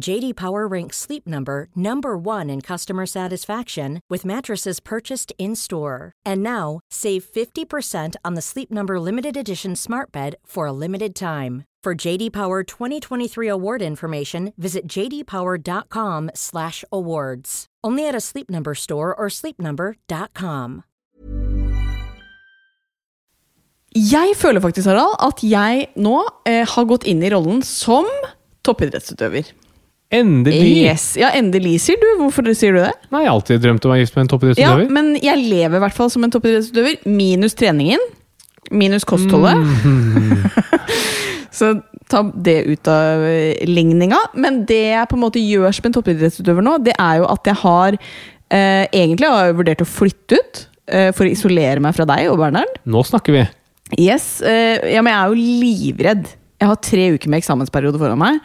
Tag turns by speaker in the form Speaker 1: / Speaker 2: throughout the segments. Speaker 1: JD Power ranks Sleep Number number 1 in customer satisfaction with mattresses purchased in-store. And now, save 50% on the Sleep Number limited edition Smart Bed for a limited time. For JD Power 2023 award information, visit jdpower.com/awards. Only at a Sleep Number store or sleepnumber.com.
Speaker 2: Jeg føler faktisk, Harald, at jeg nå eh, har gått inn i rollen som toppidrettsutøver.
Speaker 3: Endelig!
Speaker 2: Yes. Ja, endelig, sier du. Hvorfor sier du det?
Speaker 3: Nei, jeg har alltid drømt om å være gift med en
Speaker 2: Ja,
Speaker 3: toppidrettsutøver.
Speaker 2: men jeg lever i hvert fall som en toppidrettsutøver. Minus treningen. Minus kostholdet. Så ta det ut av eh, ligninga. Men det jeg på en måte gjør som en toppidrettsutøver nå, det er jo at jeg har eh, Egentlig har jeg vurdert å flytte ut. eh, For å isolere meg fra deg og Bernhard.
Speaker 3: Nå snakker vi.
Speaker 2: Yes, eh, ja, men jeg er jo livredd. Jeg har tre uker med eksamensperiode foran meg.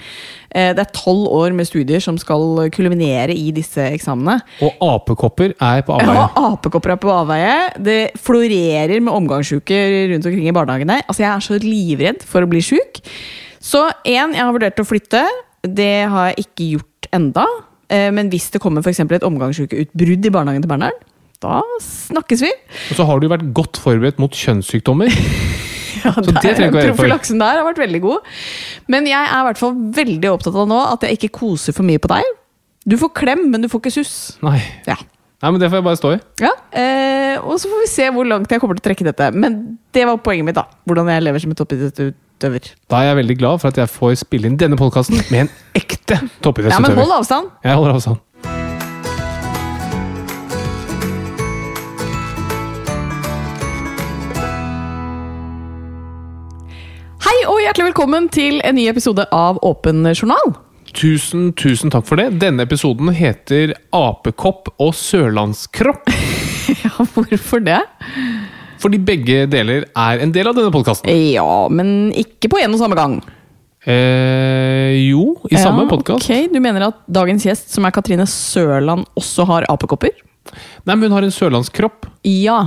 Speaker 2: Eh, det er tolv år med studier som skal kulminere i disse eksamene.
Speaker 3: Og apekopper er på
Speaker 2: Jeg
Speaker 3: avveie.
Speaker 2: har apekopper her på avveie. Det florerer med omgangsuker rundt omkring i barnehagene. Altså, jeg er så livredd for å bli sjuk. Så én, jeg har vurdert å flytte. Det har jeg ikke gjort enda. Eh, Men hvis det kommer for eksempel et omgangsukeutbrudd i barnehagen til Bernhard, da snakkes vi.
Speaker 3: Og så har du vært godt forberedt mot kjønnssykdommer.
Speaker 2: Ja,
Speaker 3: Så det
Speaker 2: der-
Speaker 3: trenger ikke være redd for.
Speaker 2: Profylaksen der har vært veldig god. Men jeg er i hvert fall veldig opptatt av nå at jeg ikke koser for mye på deg. Du får klem, men du får ikke suss.
Speaker 3: Nei.
Speaker 2: Ja.
Speaker 3: Nei, men det får jeg bare stå i.
Speaker 2: Ja, eh, og så får vi se hvor langt jeg kommer til å trekke dette. Men det var poenget mitt, da. Hvordan jeg lever som en toppidrettsutøver.
Speaker 3: Da er jeg veldig glad for at jeg får spille inn denne podkasten med en ekte
Speaker 2: Ja, men hold
Speaker 3: toppidrettsutøver.
Speaker 2: avstand!
Speaker 3: Jeg holder avstand.
Speaker 2: Hei og hjertelig velkommen til en ny episode av Åpen journal.
Speaker 3: Tusen, tusen takk for det. Denne episoden heter Apekopp og sørlandskropp.
Speaker 2: Ja, hvorfor det?
Speaker 3: Fordi begge deler er en del av denne podkasten.
Speaker 2: Ja, men ikke på en og samme gang.
Speaker 3: Eh, jo, i samme
Speaker 2: ja,
Speaker 3: podkast.
Speaker 2: ok. Du mener at dagens gjest, som er Katrine Sørland, også har apekopper?
Speaker 3: Nei, men hun har en sørlandskropp.
Speaker 2: Ja,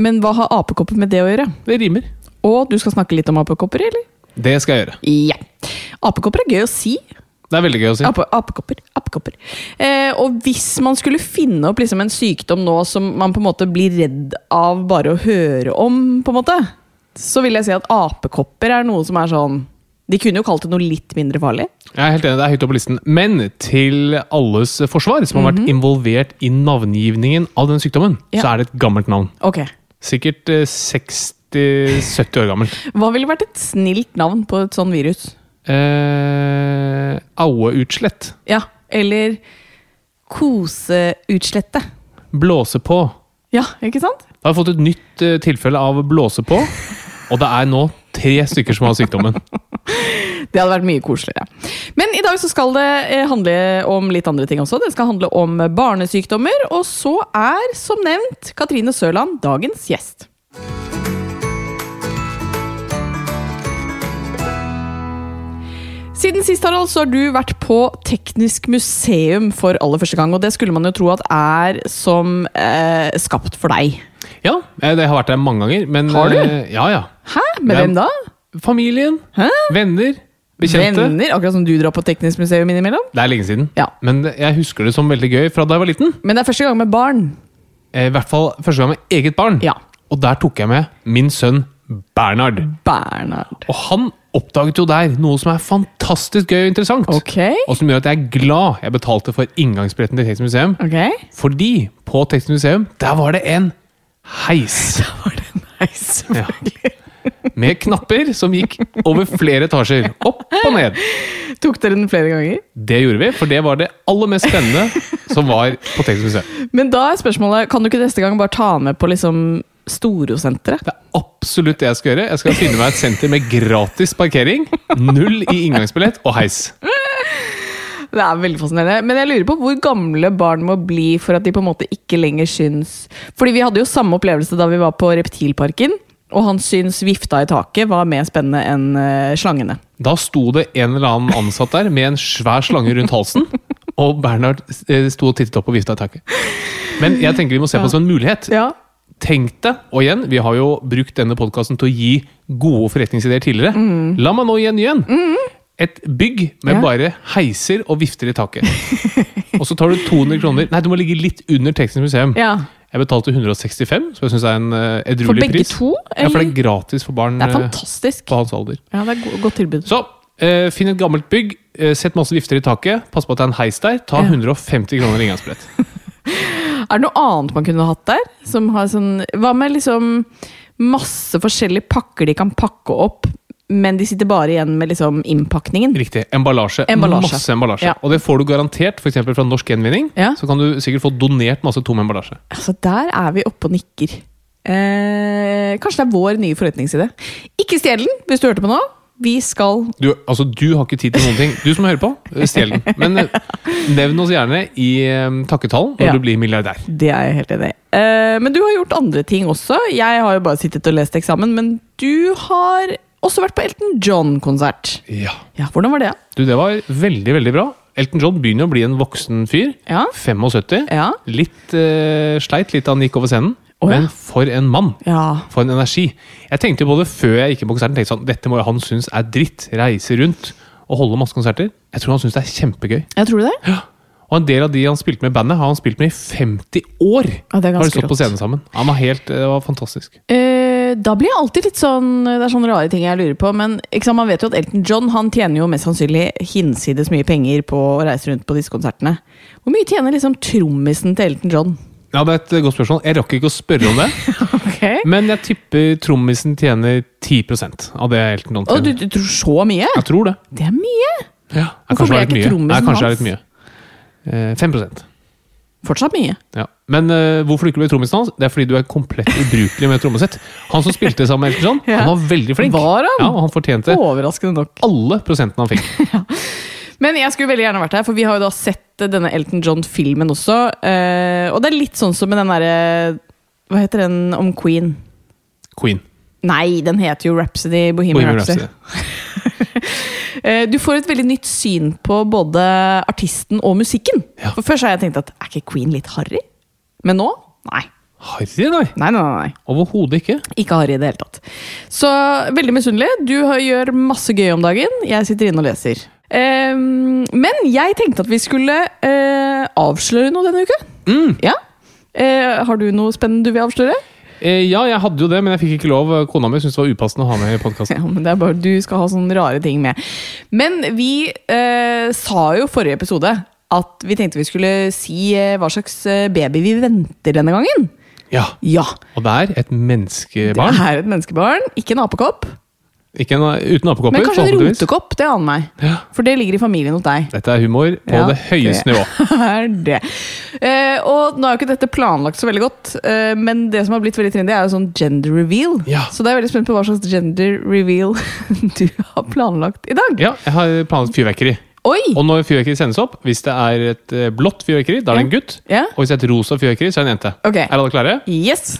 Speaker 2: men hva har apekopper med det å gjøre?
Speaker 3: Det rimer.
Speaker 2: Og du skal snakke litt om apekopper, eller?
Speaker 3: Det skal jeg gjøre.
Speaker 2: Ja. Apekopper er gøy å si.
Speaker 3: Det er veldig gøy å si.
Speaker 2: Ape, apekopper. apekopper. Eh, og hvis man skulle finne opp liksom en sykdom nå som man på en måte blir redd av bare å høre om, på en måte, så vil jeg si at apekopper er noe som er sånn De kunne jo kalt det noe litt mindre farlig.
Speaker 3: Jeg er helt enig, det er høyt oppe på listen. Men til alles forsvar, som har vært involvert i navngivningen av den sykdommen,
Speaker 2: Mhm. Ja.
Speaker 3: så er det et gammelt navn.
Speaker 2: Ok.
Speaker 3: Sikkert eh, 60-70 år gammelt.
Speaker 2: Hva ville vært et snilt navn på et sånn virus?
Speaker 3: Eh, Aueutslett.
Speaker 2: Ja, eller koseutslettet.
Speaker 3: Blåse på.
Speaker 2: Ja, ikke sant?
Speaker 3: Da har vi fått et nytt eh, tilfelle av blåse på, og det er nå tre stykker som har sykdommen.
Speaker 2: Det hadde vært mye koseligere. Men i dag så skal det eh, handle om litt andre ting også. Det skal handle om barnesykdommer, og så er, som nevnt, Katrine Sørland dagens gjest. Siden sist Harald, så har du vært på Teknisk museum for aller første gang. Og det skulle man jo tro at er som eh, skapt for deg.
Speaker 3: Ja, eh, det har vært der mange ganger. Men,
Speaker 2: Har du?
Speaker 3: eh, Ja, ja.
Speaker 2: Hæ? Med
Speaker 3: Ja.
Speaker 2: hvem da?
Speaker 3: Familien, venner, bekjente.
Speaker 2: Venner? Akkurat som du drar på Teknisk museum innimellom?
Speaker 3: Det er lenge siden,
Speaker 2: Ja.
Speaker 3: men jeg husker det som veldig gøy fra da jeg var liten.
Speaker 2: Men det er første gang med barn.
Speaker 3: Eh, I hvert fall første gang med eget barn.
Speaker 2: Ja.
Speaker 3: Og der tok jeg med min sønn Bernhard.
Speaker 2: Mm. Bernhard.
Speaker 3: Og han oppdaget jo der noe som er fantastisk gøy og interessant.
Speaker 2: Ok.
Speaker 3: Og som gjør at jeg er glad jeg betalte for inngangsbilletten til Teknisk museum.
Speaker 2: Ok.
Speaker 3: Fordi på Teknisk museum, der var det en heis
Speaker 2: Var det nice?
Speaker 3: Ja. med knapper som gikk over flere etasjer. Opp og ned.
Speaker 2: Tok dere den flere ganger?
Speaker 3: Det gjorde vi, for det var det aller mest spennende som var på Teknisk museum.
Speaker 2: Men da er spørsmålet, kan du ikke neste gang bare ta han med på liksom Storosenteret?
Speaker 3: Det er absolutt det jeg skal gjøre. Jeg skal finne meg et senter med gratis parkering, null i inngangsbillett og heis.
Speaker 2: Det er veldig fascinerende. Men jeg lurer på hvor gamle barn må bli for at de på en måte ikke lenger syns Fordi vi hadde jo samme opplevelse da vi var på Reptilparken, og han syns vifta i taket var mer spennende enn eh, slangene.
Speaker 3: Da sto det en eller annen ansatt der med en svær slange rundt halsen, og Bernhard eh, sto og tittet opp og vifta i taket. Men jeg tenker vi må se på det som en mulighet.
Speaker 2: Ja.
Speaker 3: Tenk deg, og igjen, vi har jo brukt denne podkasten til å gi gode forretningsideer tidligere. La meg nå gi en ny en. Et bygg med
Speaker 2: Mm. Ja.
Speaker 3: bare heiser og vifter i taket. og så tar du 200 kroner Nei, du må ligge litt under Teknisk museum.
Speaker 2: ja.
Speaker 3: Jeg betalte 165, som jeg syns er en eh,
Speaker 2: For
Speaker 3: edruelig
Speaker 2: begge
Speaker 3: pris.
Speaker 2: to?
Speaker 3: Ja, for
Speaker 2: Eller?
Speaker 3: det er gratis for barn
Speaker 2: Det er
Speaker 3: eh,
Speaker 2: fantastisk.
Speaker 3: på hans alder.
Speaker 2: Ja, det er go godt tilbud.
Speaker 3: Så eh, finn et gammelt bygg, eh, sett masse vifter i taket, pass på at det er en heis der, ta
Speaker 2: Ja.
Speaker 3: 150 kroner i inngangsbillett.
Speaker 2: Er det noe annet man kunne hatt der? Som har sånn, hva med liksom masse forskjellige pakker de kan pakke opp, men de sitter bare igjen med liksom innpakningen?
Speaker 3: Riktig. Emballasje.
Speaker 2: Emballasje.
Speaker 3: Masse emballasje.
Speaker 2: Ja.
Speaker 3: Og det får du garantert for eksempel fra Norsk Gjenvinning.
Speaker 2: Ja.
Speaker 3: Så kan du sikkert få donert masse tom emballasje.
Speaker 2: Altså, der er vi oppe og nikker. Eh, kanskje det er vår nye forretningside. Ikke stjel den, hvis du hørte på nå. Vi skal
Speaker 3: Du, altså, du har ikke tid til noen ting. Du som hører på, eh, stjel den. Men eh, nevn oss gjerne i eh, takketallen når
Speaker 2: Ja.
Speaker 3: du blir milliardær.
Speaker 2: Det er jeg helt enig i. Eh, men du har gjort andre ting også. Jeg har jo bare sittet og lest eksamen, men du har også vært på Elton John-konsert.
Speaker 3: Ja.
Speaker 2: Ja, Hvordan var det?
Speaker 3: Du, det var veldig, veldig bra. Elton John begynner å bli en voksen fyr.
Speaker 2: Ja.
Speaker 3: 75.
Speaker 2: Ja.
Speaker 3: Litt eh, sleit litt da han gikk over scenen.
Speaker 2: Å, ja.
Speaker 3: Men for en mann!
Speaker 2: ja.
Speaker 3: For en energi. Jeg tenkte jo på det før jeg gikk på konserten. tenkte sånn, Dette må jo han synes er dritt. Reise rundt og holde masse konserter. Jeg tror han synes det er kjempegøy.
Speaker 2: Jeg tror det.
Speaker 3: Og en del av de han spilte med i bandet, har han spilt med i 50 år!
Speaker 2: Ja, det er
Speaker 3: har de
Speaker 2: ganske
Speaker 3: stått på
Speaker 2: rått.
Speaker 3: scenen sammen. Han var helt, Det var fantastisk.
Speaker 2: Eh, da blir jeg alltid litt sånn Det er sånne rare ting jeg lurer på. Men ikke sant, man vet jo at Elton John han tjener jo mest sannsynlig hinsides mye penger på å reise rundt på disse konsertene. Hvor mye tjener liksom trommisen til Elton John?
Speaker 3: Ja, Det er et eh, godt spørsmål. Jeg rakk ikke å spørre om det. Men jeg tipper trommisen tjener 10 av det Elton John
Speaker 2: Og du,
Speaker 3: tjener.
Speaker 2: du tror så mye?
Speaker 3: Jeg tror det.
Speaker 2: Det er mye!
Speaker 3: Ja. Jeg
Speaker 2: Hvorfor ble
Speaker 3: kanskje det er litt
Speaker 2: ikke
Speaker 3: mye. Nei,
Speaker 2: trommisen
Speaker 3: kanskje det er
Speaker 2: hans?
Speaker 3: litt mye. Eh, 5
Speaker 2: Fortsatt mye.
Speaker 3: Ja. Men eh, hvorfor du ikke ble trommisen hans? Det er fordi du er komplett ubrukelig med trommesett. Han som spilte sammen med Elton John,
Speaker 2: Ja.
Speaker 3: han var veldig flink.
Speaker 2: Var han?
Speaker 3: Ja, og han fortjente
Speaker 2: Overraskende nok.
Speaker 3: alle prosentene han fikk.
Speaker 2: Men jeg skulle veldig gjerne vært her, for vi har jo da sett eh, denne Elton John-filmen også. eh, og det er litt sånn som med den derre Hva heter den om Queen?
Speaker 3: Queen.
Speaker 2: Nei, den heter jo Rhapsody, Bohemian,
Speaker 3: Bohemian
Speaker 2: Rhapsody.
Speaker 3: Rhapsody.
Speaker 2: Eh, Du får et veldig nytt syn på både artisten og musikken.
Speaker 3: Ja.
Speaker 2: For Først har jeg tenkt at er ikke Queen litt harry? Men nå? Nei.
Speaker 3: Harry, nei.
Speaker 2: Nei, nei, nei, nei.
Speaker 3: Overhodet ikke.
Speaker 2: Ikke harry i det hele tatt. Så veldig misunnelig. Du har- gjør masse gøy om dagen. Jeg sitter inne og leser. Eh, men jeg tenkte at vi skulle eh, avsløre noe denne uka. Ja. Eh, har du noe spennende du vil avsløre?
Speaker 3: Eh, ja, jeg hadde jo det, men jeg fikk ikke lov. Kona mi syntes det var upassende å ha med i podkasten.
Speaker 2: Ja, men det er bare Du skal ha sånne rare ting med. Men vi eh, sa jo forrige episode at vi tenkte vi skulle si eh, hva slags eh, baby vi venter denne gangen.
Speaker 3: Ja.
Speaker 2: Ja!
Speaker 3: Og det er et
Speaker 2: Det
Speaker 3: menneskebarn.
Speaker 2: er et menneskebarn, ikke en apekopp.
Speaker 3: Ikke en, uten apekopper,
Speaker 2: Men kanskje en
Speaker 3: forhåpentligvis.
Speaker 2: rotekopp, det aner meg.
Speaker 3: Ja.
Speaker 2: For det ligger i familien hos deg.
Speaker 3: Dette er humor på
Speaker 2: Ja,
Speaker 3: det høyeste nivå.
Speaker 2: er det. Eh, og nå er jo ikke dette planlagt så veldig godt, eh, men det som har blitt veldig trendy, er jo sånn gender reveal.
Speaker 3: Ja.
Speaker 2: Så det er jeg veldig spent på hva slags gender reveal du har planlagt i dag.
Speaker 3: Ja, jeg har planlagt fyrverkeri.
Speaker 2: Oi!
Speaker 3: Og når fyrverkeri sendes opp, hvis det er et eh, blått fyrverkeri, da er det en gutt.
Speaker 2: Ja.
Speaker 3: Og hvis det er et rosa fyrverkeri, så er det en jente.
Speaker 2: Ok.
Speaker 3: Er alle klare?
Speaker 2: Yes!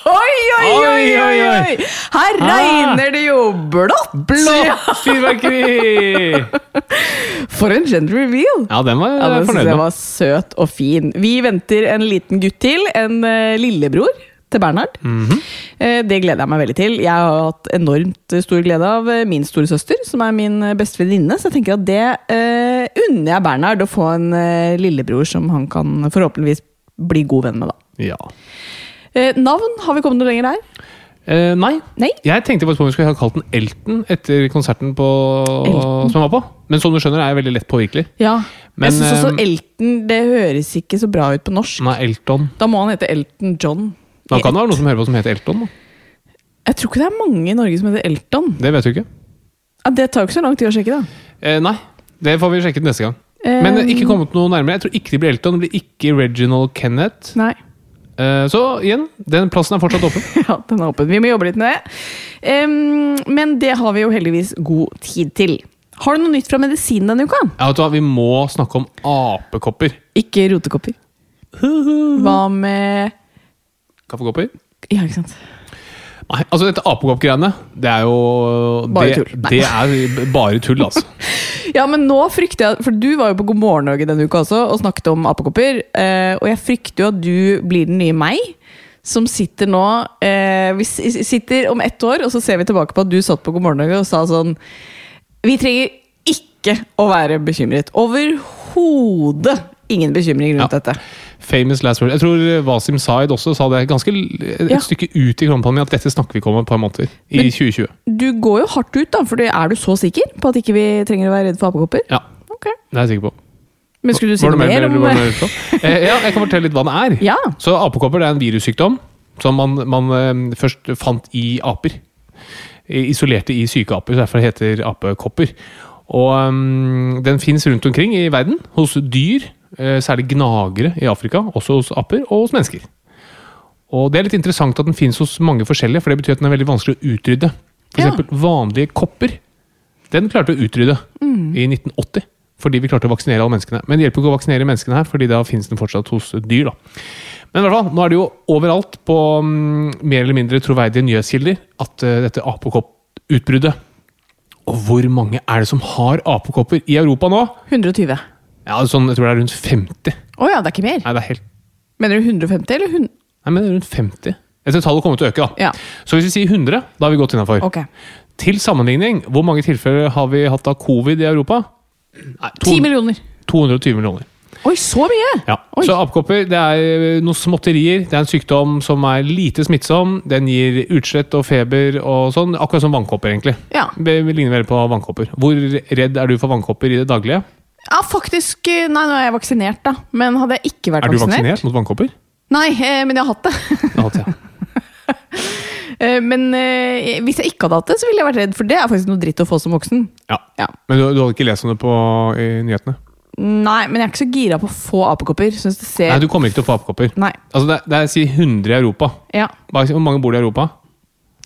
Speaker 2: oi, oi, oi, Ah. oi! Her regner det jo blått!
Speaker 3: Blått fyrverkeri!
Speaker 2: For en gender reveal!
Speaker 3: Ja, den var
Speaker 2: Ja,
Speaker 3: jeg
Speaker 2: Den synes
Speaker 3: fornøyd
Speaker 2: jeg
Speaker 3: med.
Speaker 2: var søt og fin. Vi venter en liten gutt til. En eh, lillebror til Bernhard.
Speaker 3: Mhm.
Speaker 2: Eh, det gleder jeg meg veldig til. Jeg har hatt enormt eh, stor glede av eh, min storesøster, som er min eh, beste venninne. Så jeg tenker at det eh, unner jeg Bernhard å få en eh, lillebror som han kan forhåpentligvis bli god venn med, da.
Speaker 3: Ja.
Speaker 2: Eh, navn, har vi kommet noe lenger der?
Speaker 3: Eh, nei.
Speaker 2: Nei?
Speaker 3: Jeg tenkte faktisk på om vi skulle ha kalt den Elton etter konserten på,
Speaker 2: Elton?
Speaker 3: som jeg var på. Men som du skjønner, er jeg veldig lett påvirkelig.
Speaker 2: Ja.
Speaker 3: Men,
Speaker 2: jeg synes også
Speaker 3: ehm,
Speaker 2: Elton Det høres ikke så bra ut på norsk.
Speaker 3: Nei, Elton.
Speaker 2: Da må han hete Elton John.
Speaker 3: Da kan det være noen som hører på som heter Elton. Da.
Speaker 2: Jeg tror ikke det er mange i Norge som heter Elton.
Speaker 3: Det vet du ikke.
Speaker 2: Ja, det tar jo ikke så lang tid å sjekke, da.
Speaker 3: Eh, nei, det får vi sjekket neste gang. Men eh, ikke kommet noe nærmere. Jeg tror ikke det blir Elton. Det blir ikke Reginald Kenneth.
Speaker 2: Nei.
Speaker 3: Eh, så igjen, den plassen er fortsatt åpen.
Speaker 2: Ja, den er åpen. Vi må jobbe litt med det. Em, men det har vi jo heldigvis god tid til. Har du noe nytt fra medisinen denne uka?
Speaker 3: Ja, vet du hva, Vi må snakke om apekopper.
Speaker 2: Ikke rotekopper. Hva med
Speaker 3: Kaffekopper?
Speaker 2: Ja, ikke sant.
Speaker 3: Nei, altså dette apekoppgreiene, det er jo
Speaker 2: Bare
Speaker 3: det,
Speaker 2: tull. Nei.
Speaker 3: Det er bare tull, altså.
Speaker 2: Ja, men nå frykter jeg For du var jo på God morgen Norge denne uka også og snakket om apekopper. eh, og jeg frykter jo at du blir den nye meg. Som sitter nå eh, Vi s- sitter om ett år, og så ser vi tilbake på at du satt på God morgen Norge og sa sånn Vi trenger ikke å være bekymret. Overhodet ingen bekymring rundt
Speaker 3: Ja.
Speaker 2: dette.
Speaker 3: Famous last word. Jeg tror Wasim Zaid også sa det ganske l- et
Speaker 2: Ja.
Speaker 3: stykke ut i kronepandemien at dette snakker vi ikke om om et par måneder. I
Speaker 2: Men-
Speaker 3: 2020.
Speaker 2: Du går jo hardt ut, da, for det- er du så sikker på at ikke vi trenger å være redd for apekopper?
Speaker 3: Ja,
Speaker 2: Ok.
Speaker 3: det er jeg sikker på.
Speaker 2: Men skulle du si
Speaker 3: Var
Speaker 2: noe
Speaker 3: det mer,
Speaker 2: mer
Speaker 3: eller
Speaker 2: om
Speaker 3: var det mer utpå? eh, Ja, jeg kan fortelle litt hva det er.
Speaker 2: Ja.
Speaker 3: Så apekopper det er en virussykdom som man, man eh, først fant i aper. I- Isolerte i syke aper, så derfor heter det apekopper. Og ehm, den fins rundt omkring i verden, hos dyr, eh, særlig gnagere i Afrika, også hos aper, og hos mennesker. Og det er litt interessant at den fins hos mange forskjellige, for det betyr at den er veldig vanskelig å utrydde. For
Speaker 2: Ja.
Speaker 3: eksempel vanlige kopper. Den klarte vi å utrydde i 1980, fordi vi klarte å vaksinere alle menneskene. Men det hjelper ikke å vaksinere menneskene her, fordi da finnes den fortsatt hos dyr. da. Men i hvert fall, nå er det jo overalt på mm, mer eller mindre troverdige nyhetskilder at eh, dette apekopputbruddet Og hvor mange er det som har apekopper i Europa nå?
Speaker 2: 120?
Speaker 3: Ja, sånn, Jeg tror det er rundt 50.
Speaker 2: Å ja, det er ikke mer?
Speaker 3: Nei, det er helt...
Speaker 2: Mener du 150 eller 100?
Speaker 3: Nei, men det er rundt 50. Dette tallet kommer til å øke, da.
Speaker 2: Ja.
Speaker 3: Så hvis vi sier 100, da er vi godt innafor.
Speaker 2: Ok.
Speaker 3: Til sammenligning, hvor mange tilfeller har vi hatt av covid i Europa? Nei,
Speaker 2: 10 millioner.
Speaker 3: 220 millioner.
Speaker 2: Oi, så mye!
Speaker 3: Ja.
Speaker 2: Oi.
Speaker 3: Så apekopper det er eh, noen småtterier. Det er en sykdom som er lite smittsom. Den gir utslett og feber og sånn. Akkurat som vannkopper, egentlig.
Speaker 2: Ja.
Speaker 3: Det ligner veldig på vannkopper. Hvor redd er du for vannkopper i det daglige?
Speaker 2: Ja, faktisk eh, Nei, nå er jeg vaksinert, da. Men hadde jeg ikke vært
Speaker 3: Er du
Speaker 2: vaksinert
Speaker 3: vaksinert mot vannkopper?
Speaker 2: Nei, eh, men jeg har hatt det.
Speaker 3: Ja, det er jeg.
Speaker 2: Eh, men eh, hvis jeg ikke hadde hatt det, så ville jeg vært redd, for det er faktisk noe dritt å få som voksen.
Speaker 3: ja.
Speaker 2: Ja.
Speaker 3: Men du, du hadde ikke lest om det på i nyhetene?
Speaker 2: Nei, men jeg er ikke så gira på å få apekopper. Syns det ser
Speaker 3: Nei, du kommer ikke til å få apekopper.
Speaker 2: Nei.
Speaker 3: Altså, det, er- det er si 100 i Europa.
Speaker 2: Ja.
Speaker 3: Hva- Hvor mange bor det i Europa?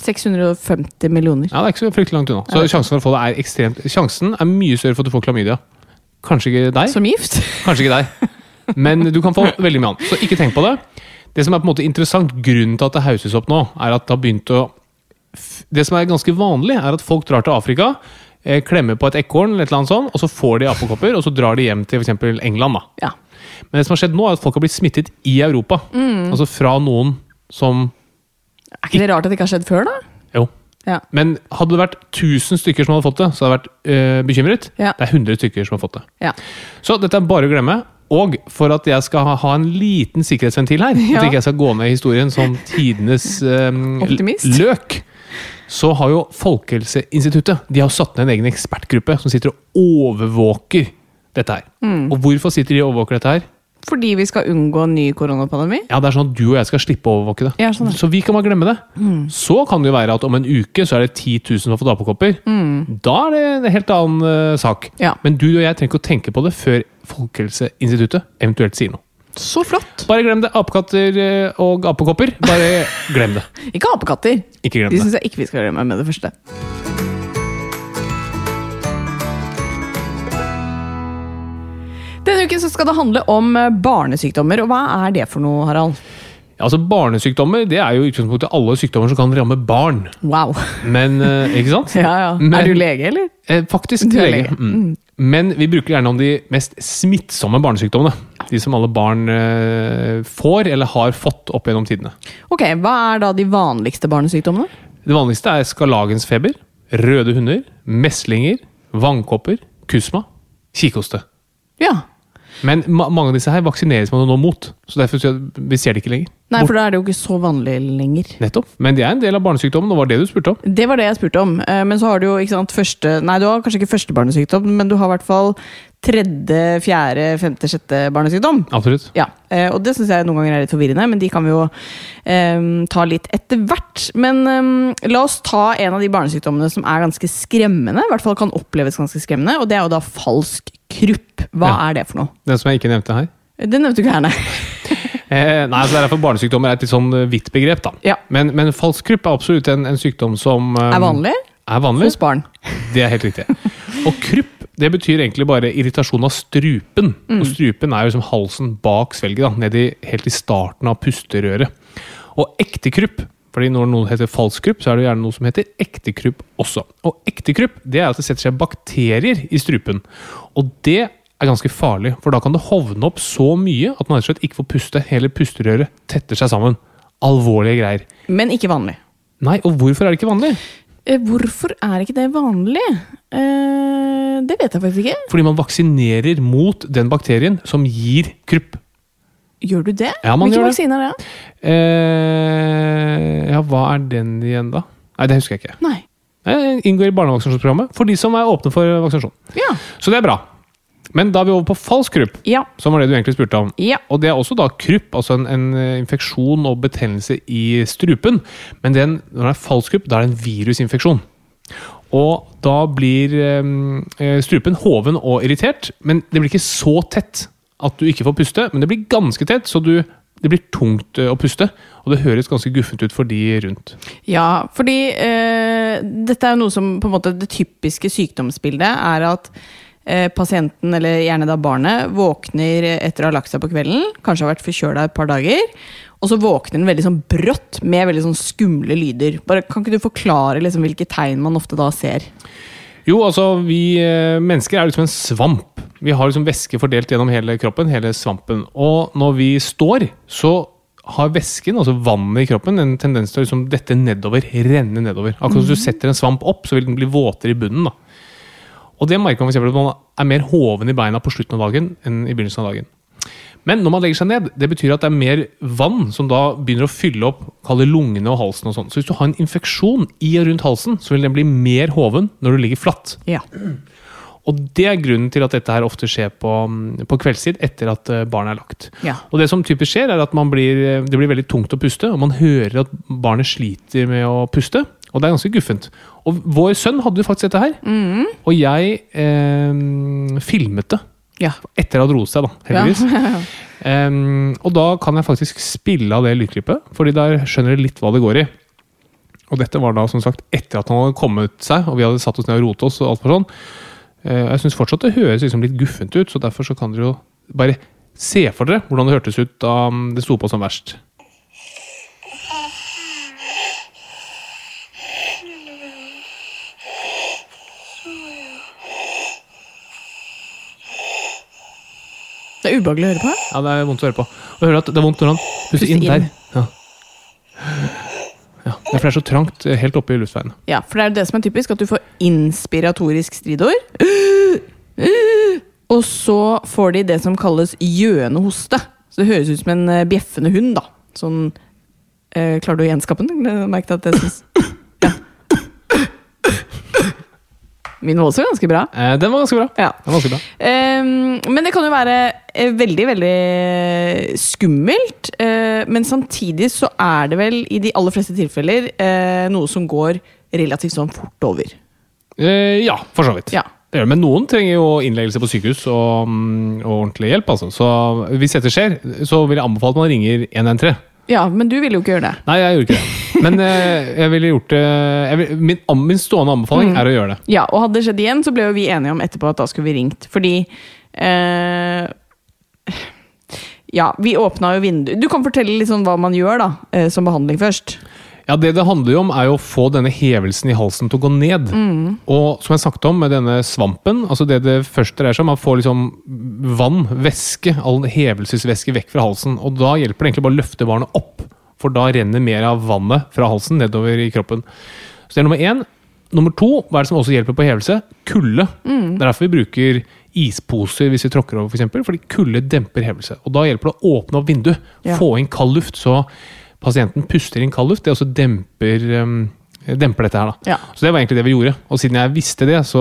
Speaker 2: 650 millioner.
Speaker 3: Ja, det er ikke så fryktelig langt unna. Så sjansen for å få det er ekstremt Sjansen er mye større for at du får klamydia. Kanskje ikke deg,
Speaker 2: Som gift?
Speaker 3: kanskje ikke deg. Men du kan få veldig mye annet. Så ikke tenk på det. Det som er på en måte interessant, grunnen til at det hauses opp nå, er at det har begynt å f- Det som er ganske vanlig, er at folk drar til Afrika, eh, klemmer på et ekorn, eller et eller annet sånt, og så får de apekopper, og så drar de hjem til f.eks. England. da.
Speaker 2: Ja.
Speaker 3: Men det som har skjedd nå, er at folk har blitt smittet i Europa. Altså fra noen som
Speaker 2: Er ikke det rart at det ikke har skjedd før, da?
Speaker 3: Jo.
Speaker 2: Ja.
Speaker 3: Men hadde det vært 1000 stykker som hadde fått det, så hadde jeg vært eh, bekymret.
Speaker 2: Ja.
Speaker 3: Det er 100 stykker som har fått det.
Speaker 2: ja.
Speaker 3: Så dette er bare å glemme. Og for at jeg skal ha, ha en liten sikkerhetsventil her,
Speaker 2: Ja.
Speaker 3: at ikke jeg skal gå ned i historien som tidenes eh,
Speaker 2: Optimist.
Speaker 3: løk, så har jo Folkehelseinstituttet de har satt ned en egen ekspertgruppe som sitter og overvåker dette her.
Speaker 2: Mm.
Speaker 3: Og hvorfor sitter de og overvåker dette her?
Speaker 2: Fordi vi skal unngå en ny koronapandemi?
Speaker 3: Ja, det er sånn at du og jeg skal slippe å overvåke det.
Speaker 2: Ja, Mm. sånn er det.
Speaker 3: Så vi kan bare glemme det. Så kan det jo være at om en uke så er det 10 000 som har fått apekopper. Da er det en helt annen eh, sak.
Speaker 2: Mm. Ja.
Speaker 3: Men du og jeg trenger ikke å tenke på det før Folkehelseinstituttet eventuelt sier noe.
Speaker 2: Så flott!
Speaker 3: Bare glem det. Apekatter eh, og apekopper. Bare glem det.
Speaker 2: Ikke apekatter.
Speaker 3: Ikke
Speaker 2: De
Speaker 3: glem det.
Speaker 2: syns jeg ikke vi skal glemme med det første. Denne uken så skal det handle om eh, barnesykdommer, og hva er det for noe, Harald?
Speaker 3: Altså Barnesykdommer det er jo i utgangspunktet alle sykdommer som kan ramme barn.
Speaker 2: Wow.
Speaker 3: Men, eh, ikke sant?
Speaker 2: Ja, ja.
Speaker 3: Men-
Speaker 2: er du lege, eller?
Speaker 3: Eh, Faktisk
Speaker 2: Du er
Speaker 3: lege.
Speaker 2: lege.
Speaker 3: Mm. Men vi bruker gjerne om de mest smittsomme barnesykdommene. De som alle barn eh, får eller har fått opp gjennom tidene.
Speaker 2: Ok, Hva er da de vanligste barnesykdommene?
Speaker 3: Det vanligste er skarlagensfeber, røde hunder, meslinger, vannkopper, kusma, kikhoste.
Speaker 2: Ja.
Speaker 3: Men ma mange av disse her vaksineres man jo nå mot, så derfor ser vi ser det ikke lenger.
Speaker 2: Nei,
Speaker 3: Bort-
Speaker 2: for da er det jo ikke så vanlig lenger.
Speaker 3: Nettopp. Men det er en del av barnesykdommen, og var det du spurte om.
Speaker 2: Det var det jeg spurte om. Eh, Men så har du jo ikke sant, første Nei, du har kanskje ikke første barnesykdom, men du har i hvert fall tredje, fjerde, femte, sjette barnesykdom.
Speaker 3: Absolutt.
Speaker 2: Ja, eh, og det syns jeg noen ganger er litt forvirrende, men de kan vi jo eh, ta litt etter hvert. Men eh, la oss ta en av de barnesykdommene som er ganske skremmende, i hvert fall kan oppleves ganske skremmende, og det er jo da falsk krupp. Hva
Speaker 3: Ja.
Speaker 2: er det for noe?
Speaker 3: Den som jeg ikke nevnte her.
Speaker 2: Det nevnte du ikke her, nei.
Speaker 3: Eh, nei, så det er derfor Barnesykdommer er et litt sånn eh, vidt begrep. da.
Speaker 2: Ja.
Speaker 3: Men, men falsk krupp er absolutt en, en sykdom som eh,
Speaker 2: Er vanlig
Speaker 3: Er vanlig.
Speaker 2: hos barn.
Speaker 3: Det er helt riktig. Og krupp det betyr egentlig bare irritasjon av strupen. Og strupen er jo liksom halsen bak svelget, da, ned i, helt i starten av pusterøret. Og ekte krupp, fordi når noe heter falsk krupp, så er det gjerne noe som heter ekte krupp også. Og ekte krupp det er at det setter seg bakterier i strupen. Og det er ganske farlig, for da kan det hovne opp så mye at man rett og slett ikke får puste. Hele pusterøret tetter seg sammen. Alvorlige greier.
Speaker 2: Men ikke vanlig.
Speaker 3: Nei, og hvorfor er det ikke vanlig?
Speaker 2: Eh, Hvorfor er ikke det vanlig? Eh, det vet jeg faktisk ikke.
Speaker 3: Fordi man vaksinerer mot den bakterien som gir krupp.
Speaker 2: Gjør du det?
Speaker 3: Ja, man
Speaker 2: Hvilke
Speaker 3: gjør det.
Speaker 2: vaksine er det?
Speaker 3: Eh, ja, hva er den igjen, da? Nei, det husker jeg ikke.
Speaker 2: Nei.
Speaker 3: Eh, inngår i barnevaksinasjonsprogrammet for de som er åpne for vaksinasjon.
Speaker 2: Ja.
Speaker 3: Så det er bra. Men da er vi over på falsk krupp,
Speaker 2: Ja.
Speaker 3: som var det du egentlig spurte om.
Speaker 2: Ja.
Speaker 3: Og det er også da krupp, altså en, en eh, infeksjon og betennelse i strupen. Men den, når det er falsk krupp, da er det en virusinfeksjon. Og da blir eh, eh, strupen hoven og irritert, men det blir ikke så tett at du ikke får puste, men det blir ganske tett, så du, det blir tungt eh, å puste. Og det høres ganske guffent ut for de rundt.
Speaker 2: ja fordi eh, dette er jo noe som på en måte Det typiske sykdomsbildet er at eh, pasienten, eller gjerne da barnet, våkner etter å ha lagt seg på kvelden. Kanskje har vært forkjøla et par dager. Og så våkner den veldig sånn brått med veldig sånn skumle lyder. Bare, kan ikke du forklare liksom hvilke tegn man ofte da ser?
Speaker 3: Jo, altså, vi eh, mennesker er liksom en svamp. Vi har liksom væske fordelt gjennom hele kroppen, hele svampen. Og når vi står, så har væsken, altså vannet i kroppen, en tendens til å liksom dette nedover, renne nedover. Akkurat som du setter en svamp opp, så vil den bli våtere i bunnen. da. Og det merker man for eksempel at man er mer hoven i beina på slutten av dagen enn i begynnelsen av dagen. Men når man legger seg ned, det betyr at det er mer vann som da begynner å fylle opp kall det lungene og halsen. og sånn. Så hvis du har en infeksjon i og rundt halsen, så vil den bli mer hoven når du ligger flatt.
Speaker 2: Ja.
Speaker 3: Og det er grunnen til at dette her ofte skjer på, mm, på kveldstid etter at eh, barnet er lagt.
Speaker 2: Ja.
Speaker 3: Og det som typisk skjer, er at man blir, eh, det blir veldig tungt å puste, og man hører at barnet sliter med å puste. Og det er ganske guffent. Og vår sønn hadde jo faktisk dette her. Og jeg eh, filmet det
Speaker 2: Ja.
Speaker 3: etter at det roet seg, da, heldigvis. Em, og da kan jeg faktisk spille av det lydklippet, fordi der skjønner jeg litt hva det går i. Og dette var da som sagt etter at han hadde kommet seg, og vi hadde satt oss ned og rotet oss. og alt for sånn. Eh, jeg syns fortsatt det høres liksom litt guffent ut, så derfor så kan dere jo bare se for dere hvordan det hørtes ut da mm, det sto på som verst.
Speaker 2: Det er ubehagelig å høre på.
Speaker 3: Ja, det er vondt å høre på. Og hører at det er vondt når han puster
Speaker 2: Puster
Speaker 3: inn,
Speaker 2: inn.
Speaker 3: der. Ja. ja, Det er for det er så trangt eh, helt oppe i luftveiene.
Speaker 2: Ja, for det er jo det som er typisk, at du får inspiratorisk stridord. Og så får de det som kalles gjøende hoste. Så det høres ut som en eh, bjeffende hund, da. Sånn eh, Klarer du å gjenskape den? Jeg Merket at jeg syns ja. Min var også ganske bra.
Speaker 3: Eh, den var ganske bra.
Speaker 2: Ja.
Speaker 3: Den var ganske bra.
Speaker 2: Ehm, men det kan jo være eh, veldig, veldig skummelt. eh, men samtidig så er det vel i de aller fleste tilfeller eh, noe som går relativt sånn fort over.
Speaker 3: Eh, ja, for så vidt.
Speaker 2: Ja.
Speaker 3: Det gjør det, Men noen trenger jo innleggelse på sykehus og, mm, og ordentlig hjelp. altså. Så hvis dette skjer, så vil jeg anbefale at man ringer 113.
Speaker 2: Ja, men du ville jo ikke gjøre det.
Speaker 3: Nei, jeg gjorde ikke det. Men eh, jeg ville gjort det jeg vil, min, an- min stående anbefaling er å gjøre det.
Speaker 2: Ja, Og hadde det skjedd igjen, så ble jo vi enige om etterpå at da skulle vi ringt. Fordi eh, Ja, vi åpna jo vinduet Du kan fortelle litt sånn hva man gjør da, eh, som behandling først.
Speaker 3: Ja, Det det handler jo om, er jo å få denne hevelsen i halsen til å gå ned. Og som jeg snakket om, med denne svampen altså Det det først dreier seg om, man får liksom vann, væske, all hevelsesvæske vekk fra halsen. Og da hjelper det egentlig bare å løfte barnet opp, for da renner mer av vannet fra halsen nedover i kroppen. Så det er nummer én. Nummer to, hva er det som også hjelper på hevelse? Kulde. Det er derfor vi bruker isposer hvis vi tråkker over, for eksempel, fordi kulde demper hevelse. Og da hjelper det å åpne opp vinduet,
Speaker 2: Ja.
Speaker 3: få inn kald luft, så pasienten puster inn kald luft. Det også demper, um, demper dette her. da.
Speaker 2: Ja.
Speaker 3: Så det var egentlig det vi gjorde. Og siden jeg visste det, så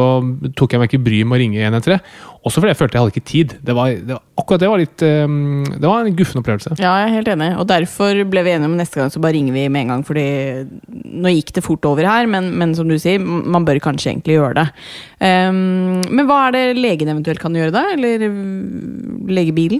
Speaker 3: tok jeg meg ikke bryet med å ringe 113. Også fordi jeg følte jeg hadde ikke tid. Det var, det var, akkurat det var litt um, Det var en guffen opplevelse.
Speaker 2: Ja, jeg er helt enig. Og derfor ble vi enige om neste gang så bare ringer vi med en gang. Fordi nå gikk det fort over her, men, men som du sier, m- man bør kanskje egentlig gjøre det. Ehm, men hva er det legen eventuelt kan gjøre da? Eller mm, legebilen?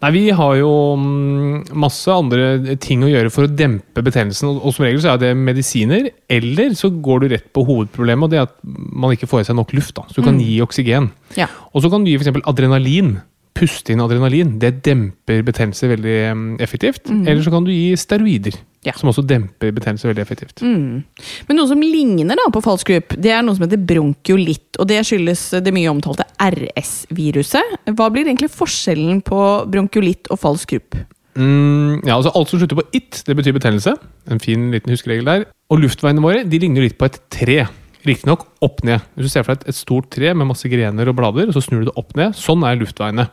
Speaker 3: Nei, vi har jo mm, masse andre ting å gjøre for å dempe betennelsen. Og og som regel så er det medisiner, eller så går du rett på hovedproblemet, og det er at man ikke får i seg nok luft. da. Så du kan gi oksygen.
Speaker 2: Mm. Ja.
Speaker 3: Og så kan du gi f.eks. adrenalin. Puste inn adrenalin. Det demper betennelse veldig mm, effektivt. Eller så kan du gi steroider,
Speaker 2: Ja.
Speaker 3: som også demper betennelse veldig effektivt.
Speaker 2: Mm. Men noe som ligner da på falsk grupp, det er noe som heter bronkiolitt. Og det skyldes det mye omtalte RS-viruset. Hva blir egentlig forskjellen på bronkiolitt og falsk grupp?
Speaker 3: Mm, ja, altså Alt som slutter på it, det betyr betennelse. En fin liten huskeregel der. Og luftveiene våre de ligner jo litt på et tre. Riktignok opp ned. Hvis du ser for deg et, et stort tre med masse grener og blader, og så snur du det opp ned. Sånn er luftveiene.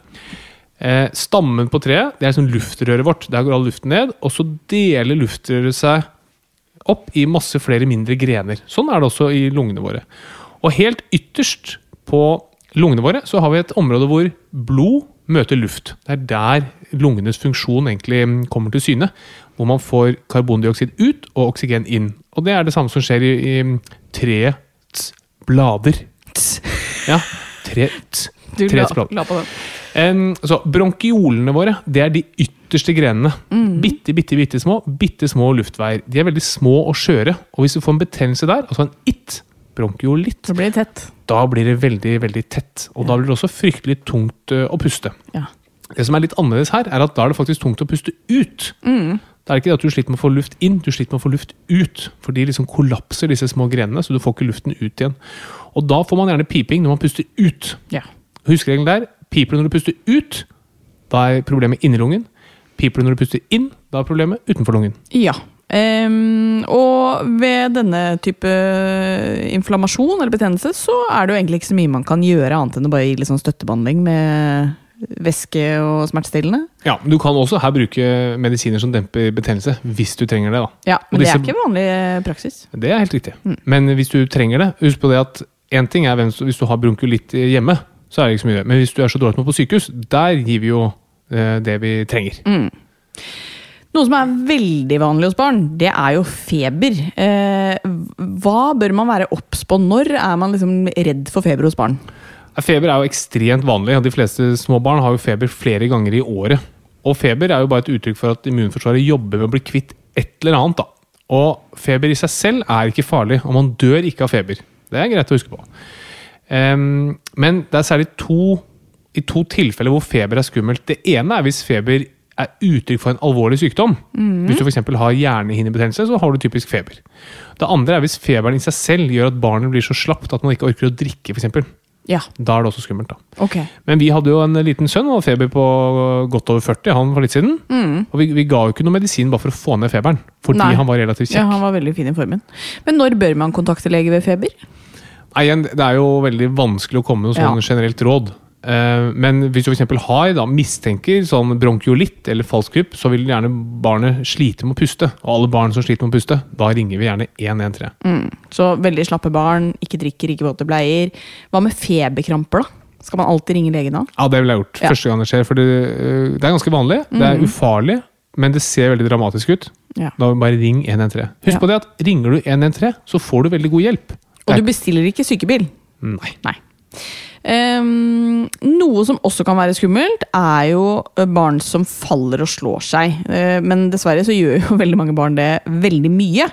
Speaker 3: Eh, stammen på treet det er sånn luftrøret vårt. Der går all luften ned. Og så deler luftrøret seg opp i masse flere mindre grener. Sånn er det også i lungene våre. Og helt ytterst på lungene våre så har vi et område hvor blod møter luft. Det er der lungenes funksjon egentlig mm, kommer til syne. Hvor man får karbondioksid ut og oksygen inn. Og det er det samme som skjer i, i treets blader. Ja, treets
Speaker 2: Du la,
Speaker 3: treets blader.
Speaker 2: la på den.
Speaker 3: Em, så bronkiolene våre, det er de ytterste grenene. Bitte, bitte, bitte små, bitte små luftveier. De er veldig små og skjøre. Og hvis du får en betennelse der, altså en it, bronkiolitt,
Speaker 2: Så blir det tett.
Speaker 3: da blir det veldig, veldig tett. Og da blir det også fryktelig tungt ø, å puste.
Speaker 2: Ja.
Speaker 3: Det som er litt annerledes her, er at da er det faktisk tungt å puste ut.
Speaker 2: Mm.
Speaker 3: Det er ikke det at du sliter med å få luft inn, du sliter med å få luft ut. For de liksom kollapser, disse små grenene, så du får ikke luften ut igjen. Og da får man gjerne piping når man puster ut.
Speaker 2: Ja.
Speaker 3: Huskeregelen der piper det når du puster ut, da er problemet inni lungen. Piper det når du puster inn, da er problemet utenfor lungen.
Speaker 2: Ja. Ehm, og ved denne type inflammasjon eller betennelse, så er det jo egentlig ikke så mye man kan gjøre annet enn å bare gi litt sånn støttebehandling med væske og smertestillende.
Speaker 3: Ja, men Du kan også her bruke medisiner som demper betennelse, hvis du trenger det. da.
Speaker 2: Ja,
Speaker 3: Og
Speaker 2: Men det er
Speaker 3: disse-
Speaker 2: ikke vanlig praksis.
Speaker 3: Det er helt riktig. Men hvis du trenger det Husk på det at én ting er hvem, som- hvis du har bronkulitt hjemme, så er det ikke så mye. Men hvis du er så dårlig at du må på sykehus, der gir vi jo eh, det vi trenger.
Speaker 2: Noe som er veldig vanlig hos barn, det er jo feber. Eh, hva bør man være obs på? Når er man liksom redd for feber hos barn?
Speaker 3: Feber er jo ekstremt vanlig, og de fleste små barn har jo feber flere ganger i året. Og feber er jo bare et uttrykk for at immunforsvaret jobber med å bli kvitt et eller annet. da. Og feber i seg selv er ikke farlig, og man dør ikke av feber. Det er greit å huske på. Ehm, men det er særlig to, i to tilfeller hvor feber er skummelt. Det ene er hvis feber er uttrykk for en alvorlig sykdom. Hvis du f.eks. har hjernehinnebetennelse, så har du typisk feber. Det andre er hvis feberen i seg selv gjør at barnet blir så slapt at man ikke orker å drikke. For eksempel.
Speaker 2: Ja,
Speaker 3: Da er det også skummelt, da.
Speaker 2: ok.
Speaker 3: Men vi hadde jo en liten sønn, han hadde feber på godt over 40, han for litt siden. Og vi, vi ga jo ikke noe medisin bare for å få ned feberen, fordi
Speaker 2: Mm. Nei.
Speaker 3: han var relativt
Speaker 2: Ja,
Speaker 3: kjekk.
Speaker 2: Han var veldig fin i formen. Men når bør man kontakte lege ved feber?
Speaker 3: Nei, igjen, det er jo veldig vanskelig å komme med noe sånn
Speaker 2: Ja.
Speaker 3: generelt råd. Eh, men hvis du f.eks. har da, mistenker sånn bronkiolitt eller falsk grupp, så vil gjerne barnet slite med å puste. Og alle barn som sliter med å puste, da ringer vi gjerne 113.
Speaker 2: Så veldig slappe barn, ikke drikker, ikke våte bleier. Hva med feberkramper, da? Skal man alltid ringe legen da?
Speaker 3: Ja, det ville jeg gjort.
Speaker 2: Ja. Mhm.
Speaker 3: Første gang det skjer. For det, eh, det er ganske vanlig. Det er ufarlig, men det ser veldig dramatisk ut.
Speaker 2: Ja.
Speaker 3: Da bare ring 113. Husk
Speaker 2: Ja.
Speaker 3: på det at ringer du 113, så får du veldig god hjelp.
Speaker 2: Og
Speaker 3: Det
Speaker 2: du
Speaker 3: er-
Speaker 2: bestiller ikke sykebil?
Speaker 3: Nei.
Speaker 2: Nei. Ehm, noe som også kan være skummelt, er jo eh, barn som faller og slår seg. Eh, men dessverre så gjør jo veldig mange barn det veldig mye.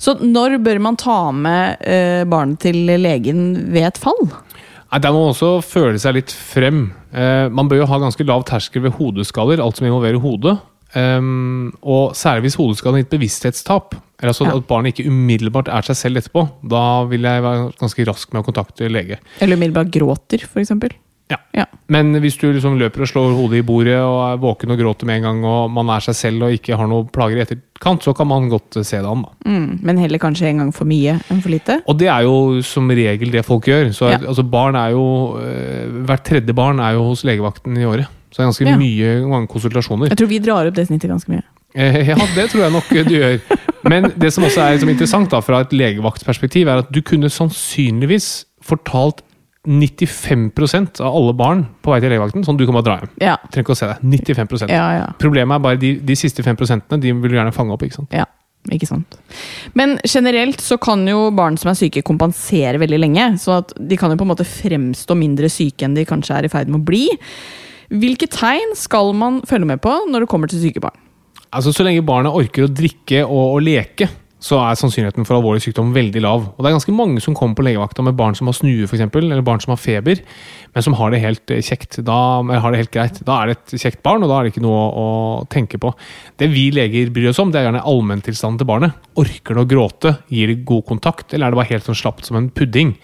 Speaker 2: Så når bør man ta med eh, barnet til legen ved et fall?
Speaker 3: Nei, Nei, Der må man også føle seg litt frem. Eh, man bør jo ha ganske lav terskel ved hodeskaller, alt som involverer hodet. Ehm, og særlig hvis hodeskaden har gitt bevissthetstap, eller altså
Speaker 2: Ja.
Speaker 3: at barnet ikke umiddelbart er seg selv etterpå, da vil jeg være ganske rask med å kontakte lege.
Speaker 2: Eller umiddelbart gråter, for eksempel.
Speaker 3: Ja.
Speaker 2: Ja.
Speaker 3: Men hvis du liksom løper og slår hodet i bordet og er våken og gråter med en gang, og man er seg selv og ikke har noen plager i etterkant, så kan man godt eh, se det an. da.
Speaker 2: Mm, men heller kanskje en gang for mye enn for lite.
Speaker 3: Og det er jo som regel det folk gjør. Så
Speaker 2: Ja.
Speaker 3: altså barn er jo, eh, Hvert tredje barn er jo hos legevakten i året. Så det er ganske
Speaker 2: Ja.
Speaker 3: mye mange konsultasjoner.
Speaker 2: Jeg tror vi drar opp det snittet ganske mye.
Speaker 3: Eh, ja, det tror jeg nok du gjør. Men det som også er liksom interessant da, fra et legevaktperspektiv, er at du kunne sannsynligvis fortalt 95 av alle barn på vei til legevakten sånn du kan bare dra hjem.
Speaker 2: Ja,
Speaker 3: Trenger ikke å se deg. 95
Speaker 2: ja, ja.
Speaker 3: Problemet er bare de, de siste 5 de vil du gjerne fange opp. ikke sant?
Speaker 2: ja. Ikke sant. Men generelt så kan jo barn som er syke, kompensere veldig lenge. Så at de kan jo på en måte fremstå mindre syke enn de kanskje er i ferd med å bli. Hvilke tegn skal man følge med på når det kommer til syke barn?
Speaker 3: Altså, Så lenge barna orker å drikke og, og leke, så er sannsynligheten for alvorlig sykdom veldig lav. Og Det er ganske mange som kommer på legevakta med barn som har snue, for eksempel, eller barn som har feber, men som har det helt eh, kjekt. Da, eller har det helt greit. da er det et kjekt barn, og da er det ikke noe å, å tenke på. Det vi leger bryr oss om, det er gjerne allmenntilstanden til barnet. Orker det å gråte? Gir det god kontakt? Eller er det bare helt sånn slapt som en pudding?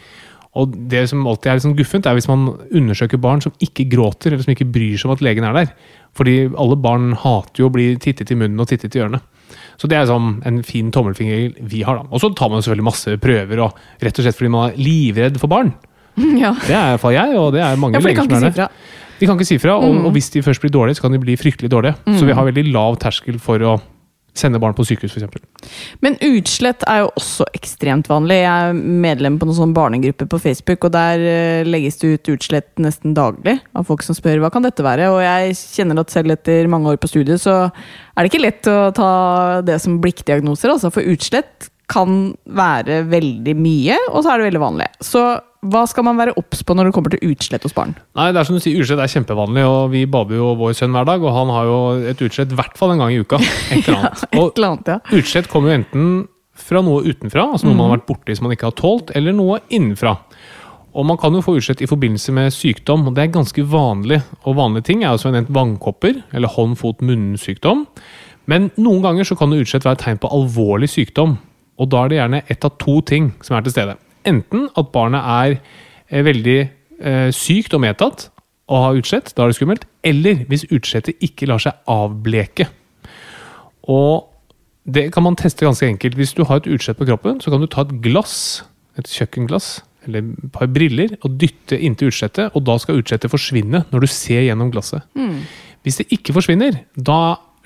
Speaker 3: Og det som alltid er litt sånn guffent, er hvis man undersøker barn som ikke gråter, eller som ikke bryr seg om at legen er der. Fordi alle barn hater jo å bli tittet i munnen og tittet i ørene. Så det er sånn en fin tommelfinger vi har, da. Og så tar man selvfølgelig masse prøver, og rett og slett fordi man er livredd for barn.
Speaker 2: Mm, Ja,
Speaker 3: Det er i hvert fall jeg, og det er mange
Speaker 2: for de kan
Speaker 3: leger
Speaker 2: ikke si
Speaker 3: som er det.
Speaker 2: fra. Mm.
Speaker 3: De kan ikke si fra, og, og hvis de først blir dårlige, så kan de bli fryktelig dårlige. Så vi har veldig lav terskel for å sende barn på sykehus, f.eks.
Speaker 2: Men utslett er jo også ekstremt vanlig. Jeg er medlem på noen sånn barnegruppe på Facebook, og der eh, legges det ut utslett nesten daglig av folk som spør hva kan dette være. Og jeg kjenner at selv etter mange år på studiet, så er det ikke lett å ta det som blikkdiagnoser, altså. For utslett kan være veldig mye, og så er det veldig vanlig. Så hva skal man være obs på når det kommer til utslett hos barn?
Speaker 3: Nei, det er som du sier, utslett er kjempevanlig, og vi bader jo vår sønn hver dag, og han har jo et utslett i hvert fall en gang i uka. Et eller annet.
Speaker 2: Et
Speaker 3: Og
Speaker 2: eller annet, ja.
Speaker 3: utslett kommer jo enten fra noe utenfra, altså noe man har vært borti som man ikke har tålt, eller noe innenfra. Og man kan jo få utslett i forbindelse med sykdom, og det er ganske vanlig. Og vanlige ting er jo som jeg nevnte vannkopper, eller hånd-fot-munn-sykdom. Men noen ganger så kan jo utslett være tegn på alvorlig sykdom, og da er det gjerne ett av to ting som er til stede. Enten at barnet er eh, veldig eh, sykt og medtatt og har utslett, da er det skummelt, eller hvis utslettet ikke lar seg avbleke. Og det kan man teste ganske enkelt. Hvis du har et utslett på kroppen, så kan du ta et glass, et kjøkkenglass, eller et par briller, og dytte inntil utslettet, og da skal utslettet forsvinne når du ser gjennom glasset. Hvis det ikke forsvinner, da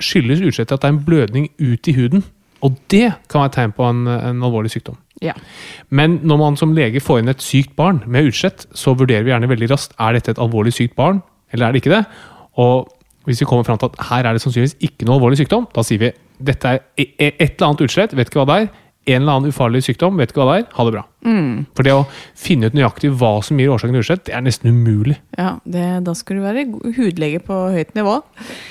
Speaker 3: skyldes utslettet at det er en blødning ut i huden. Og det kan være et tegn på en, en alvorlig sykdom.
Speaker 2: ja.
Speaker 3: Men når man som lege får inn et sykt barn med utslett, så vurderer vi gjerne veldig raskt er dette et alvorlig sykt barn, eller er det ikke det. Og hvis vi kommer fram til at her er det sannsynligvis ikke noe alvorlig sykdom, da sier vi dette er e- e- et eller annet utslett, vet ikke hva det er. En eller annen ufarlig sykdom, vet ikke hva det er. Ha det bra. For det å finne ut nøyaktig hva som gir årsaken til utslett, det er nesten umulig.
Speaker 2: Ja, det, da skal du være go- hudlege på høyt nivå.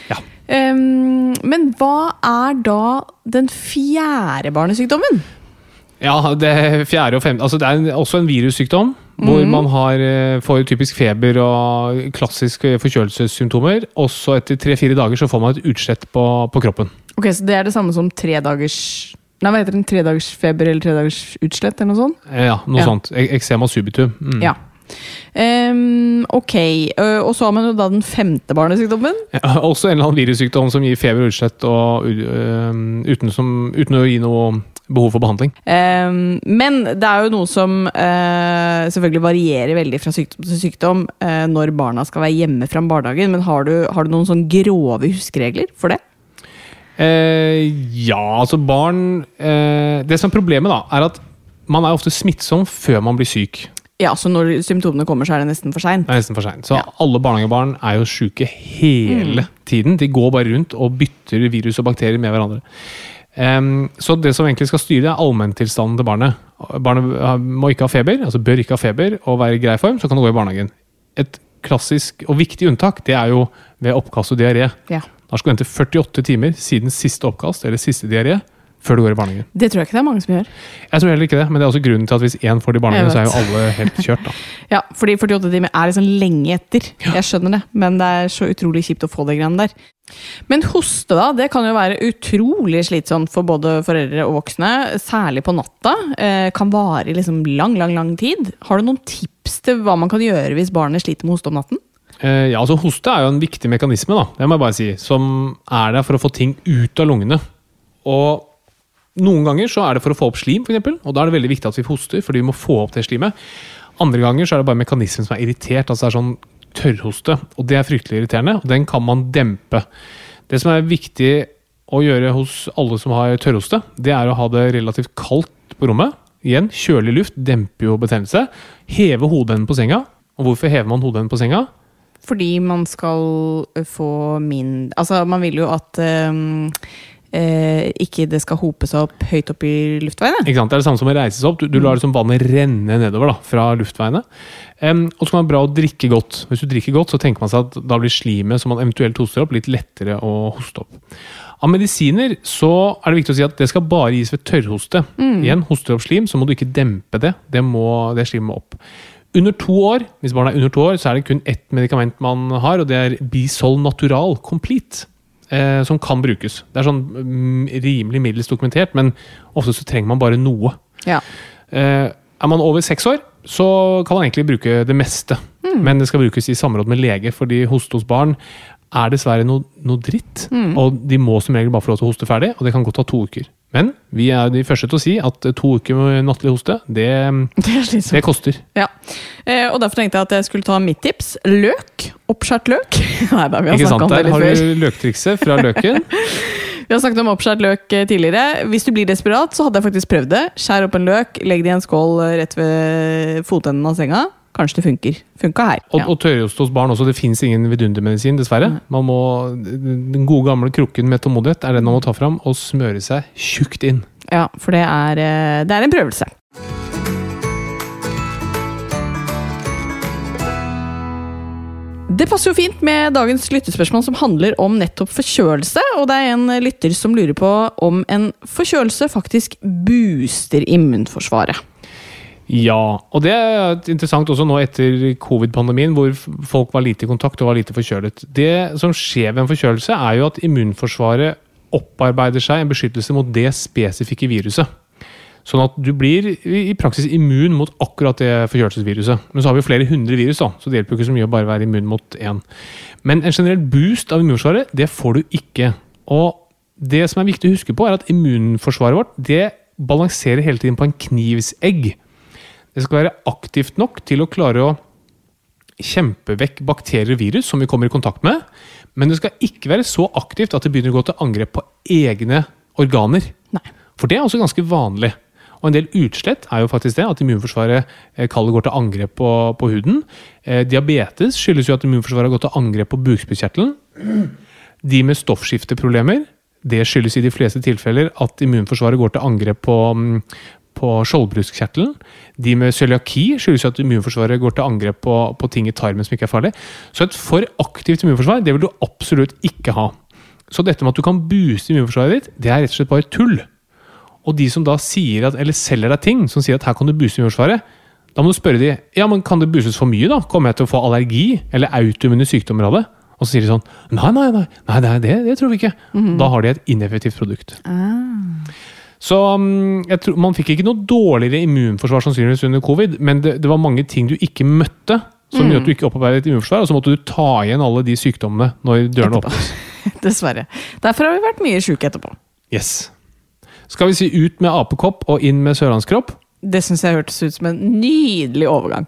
Speaker 3: Ja.
Speaker 2: Ehm, men hva er da den fjerde barnesykdommen?
Speaker 3: Ja, det fjerde og femte Altså, det er en, også en virussykdom. Hvor
Speaker 2: Mhm.
Speaker 3: man har, eh, får typisk feber og klassiske forkjølelsessymptomer. Og så etter tre-fire dager så får man et utslett på, på kroppen.
Speaker 2: Ok, Så det er det samme som tredagers Nei, hva heter den? Tredagersfeber eller tredagers utslett? eller noe sånt?
Speaker 3: Eh, Ja, noe
Speaker 2: Ja.
Speaker 3: sånt. E- Eksema subitum. Mm.
Speaker 2: Ja. Ehm, ok, ø, og så har man jo da den femte barnesykdommen.
Speaker 3: Ja, Også en eller annen virussykdom som gir feber og utslett og, eh, uten, som, uten å gi noe behov for behandling.
Speaker 2: Ehm, men det er jo noe som eh, selvfølgelig varierer veldig fra sykdom til sykdom eh, når barna skal være hjemme fra barnehagen. Men har du, har du noen sånn grove huskeregler for det?
Speaker 3: Eh, ja, altså barn eh, Det som er problemet, da, er at man er ofte smittsom før man blir syk.
Speaker 2: Ja, så når symptomene kommer, så er det nesten for seint.
Speaker 3: Det er nesten for sent. Så
Speaker 2: Ja. Mm.
Speaker 3: alle barnehagebarn er jo syke hele tiden. De går bare rundt og bytter virus og bakterier med hverandre. Ehm, så det som egentlig skal styre, det er allmenntilstanden til barnet. Barnet har- må ikke ha feber, altså bør ikke ha feber og være i grei form, så kan det gå i barnehagen. Et klassisk og viktig unntak det er jo ved oppkast og diaré.
Speaker 2: Ja.
Speaker 3: Da skal du vente 48 timer siden siste oppkast eller siste diaré før du går i barnehagen.
Speaker 2: Det tror jeg ikke det er mange som gjør.
Speaker 3: Jeg tror heller ikke det, men det er også grunnen til at hvis én får det i barnehagen, så er
Speaker 2: Jeg
Speaker 3: jo alle helt kjørt. da.
Speaker 2: Ja, fordi 48 timer er liksom lenge etter.
Speaker 3: Ja.
Speaker 2: Jeg skjønner det, men det er så utrolig kjipt å få det greiene der. Men hoste, da, det kan jo være utrolig slitsomt for både foreldre og voksne. Særlig på natta. Eh, kan vare i liksom lang, lang, lang tid. Har du noen tips til hva man kan gjøre hvis barnet sliter med hoste om natten?
Speaker 3: Eh, ja, altså Hoste er jo en viktig mekanisme, da, det må jeg bare si, som er der for å få ting ut av lungene. Og noen ganger så er det for å få opp slim, for eksempel, og da er det veldig viktig at vi hoster, fordi vi må få opp det slimet. Andre ganger så er det bare mekanismen som er irritert, altså det er sånn tørrhoste, og det er fryktelig irriterende, og den kan man dempe. Det som er viktig å gjøre hos alle som har tørrhoste, det er å ha det relativt kaldt på rommet. Igjen, kjølig luft demper jo betennelse. Heve hodeenden på senga. Og hvorfor hever man hodeenden på senga?
Speaker 2: Fordi man skal eh, få min... Altså, man vil jo at ehm, eh, ikke det skal hope seg opp høyt opp i luftveiene.
Speaker 3: Ikke sant? Det er det samme som å reise seg opp. Du, du lar liksom vannet renne nedover da, fra luftveiene. Em, og så kan det være bra å drikke godt. Hvis du drikker godt, så tenker man seg at da blir slimet som man eventuelt hoster opp, litt lettere å hoste opp. Av medisiner så er det viktig å si at det skal bare gis ved tørrhoste. Igjen, hoster du opp slim, så må du ikke dempe det. Det, må, det slimet må opp. Under to år, hvis barnet er under to år, så er det kun ett medikament man har, og det er Bisol Natural Complete eh, som kan brukes. Det er sånn mm, rimelig middels dokumentert, men ofte så trenger man bare noe.
Speaker 2: Ja.
Speaker 3: Eh, er man over seks år, så kan man egentlig bruke det meste.
Speaker 2: Mm.
Speaker 3: Men det skal brukes i samråd med lege, fordi hoste hos barn er dessverre noe, noe dritt.
Speaker 2: Mm.
Speaker 3: Og de må som regel bare få lov til å hoste ferdig, og det kan godt ta to uker. Men vi er de første til å si at to uker med nattlig hoste, det,
Speaker 2: Det er slitsomt.
Speaker 3: det koster.
Speaker 2: Ja, eh, og derfor tenkte jeg at jeg skulle ta mitt tips. Løk. Oppskjært løk. Nei, da, vi har
Speaker 3: Ikke
Speaker 2: snakket
Speaker 3: sant?
Speaker 2: om det
Speaker 3: Der har
Speaker 2: litt før.
Speaker 3: du løktrikset fra løken.
Speaker 2: Vi har snakket om oppskjært løk eh, tidligere. Hvis du blir desperat, så hadde jeg faktisk prøvd det. Skjær opp en løk, legg det i en skål eh, rett ved fotenden av senga. Kanskje det funker. Funka her.
Speaker 3: Og,
Speaker 2: Ja.
Speaker 3: og tørrhoste hos barn også. Det fins ingen vidundermedisin, dessverre. Man må, Den gode gamle krukken med tålmodighet er den man må ta fram og smøre seg tjukt inn.
Speaker 2: ja, for det er, eh, det er en prøvelse. Det passer jo fint med dagens lyttespørsmål som handler om nettopp forkjølelse. Og det er en lytter som lurer på om en forkjølelse faktisk booster immunforsvaret.
Speaker 3: Ja, og det er interessant også nå etter covid-pandemien, hvor f- folk var lite i kontakt og var lite forkjølet. Det som skjer ved en forkjølelse, er jo at immunforsvaret opparbeider seg en beskyttelse mot det spesifikke viruset. Sånn at du blir i i praksis immun mot akkurat det forkjølelsesviruset. Men så har vi jo flere hundre virus, da, så det hjelper jo ikke så mye å bare være immun mot én. Men en generell boost av immunforsvaret, det får du ikke. Og det som er viktig å huske på, er at immunforsvaret vårt det balanserer hele tiden på en knivsegg. Det skal være aktivt nok til å klare å kjempe vekk bakterier og virus som vi kommer i kontakt med, men det skal ikke være så aktivt at det begynner å gå til angrep på egne organer.
Speaker 2: Nei.
Speaker 3: For det er også ganske vanlig. Og en del utslett er jo faktisk det, at immunforsvaret eh, kallet går til angrep på, på huden. Eh, diabetes skyldes jo at immunforsvaret har gått til angrep på bukspyttkjertelen. De med stoffskifteproblemer, det skyldes i de fleste tilfeller at immunforsvaret går til angrep på, mm, på skjoldbruskkjertelen. De med cøliaki skyldes jo at immunforsvaret går til angrep på, på ting i tarmen som ikke er farlig. Så et for aktivt immunforsvar det vil du absolutt ikke ha. Så dette med at du kan booste immunforsvaret ditt, det er rett og slett bare tull. Og de som da sier at, eller selger deg ting som sier at her kan du booste immunforsvaret, da må du spørre de, ja, men kan det boostes for mye da? Kommer jeg til å få allergi eller autoimmune sykdommer av det? Og så sier de sånn, nei, nei, nei, nei, nei det, det tror vi ikke. Da har de et ineffektivt produkt. Så mm, jeg tror, man fikk ikke noe dårligere immunforsvar sannsynligvis under covid, men det, det var mange ting du ikke møtte, som gjør at du ikke opparbeidet et immunforsvar, og så måtte du ta igjen alle de sykdommene når dørene
Speaker 2: Etterpå.
Speaker 3: åpnes.
Speaker 2: Dessverre. Derfor har vi vært mye sjuke etterpå.
Speaker 3: Yes. Skal vi si ut med apekopp og inn med sørlandskropp?
Speaker 2: Det syns jeg hørtes ut som en nydelig overgang.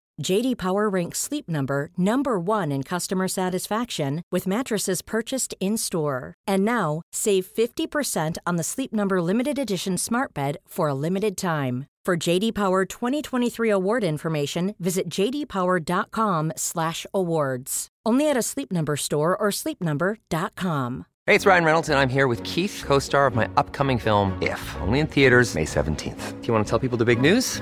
Speaker 1: JD Power ranks Sleep Number number 1 in customer satisfaction with mattresses purchased in-store. And now, save 50% on the Sleep Number limited edition Smart Bed for a limited time. For JD Power 2023 award information, visit jdpower.com/awards. Only at a Sleep Number store or sleepnumber.com.
Speaker 4: Hey, it's Ryan Reynolds, and I'm here with Keith, co star of my upcoming film, If, only in theaters, May 17th. Do you want to tell people the big news?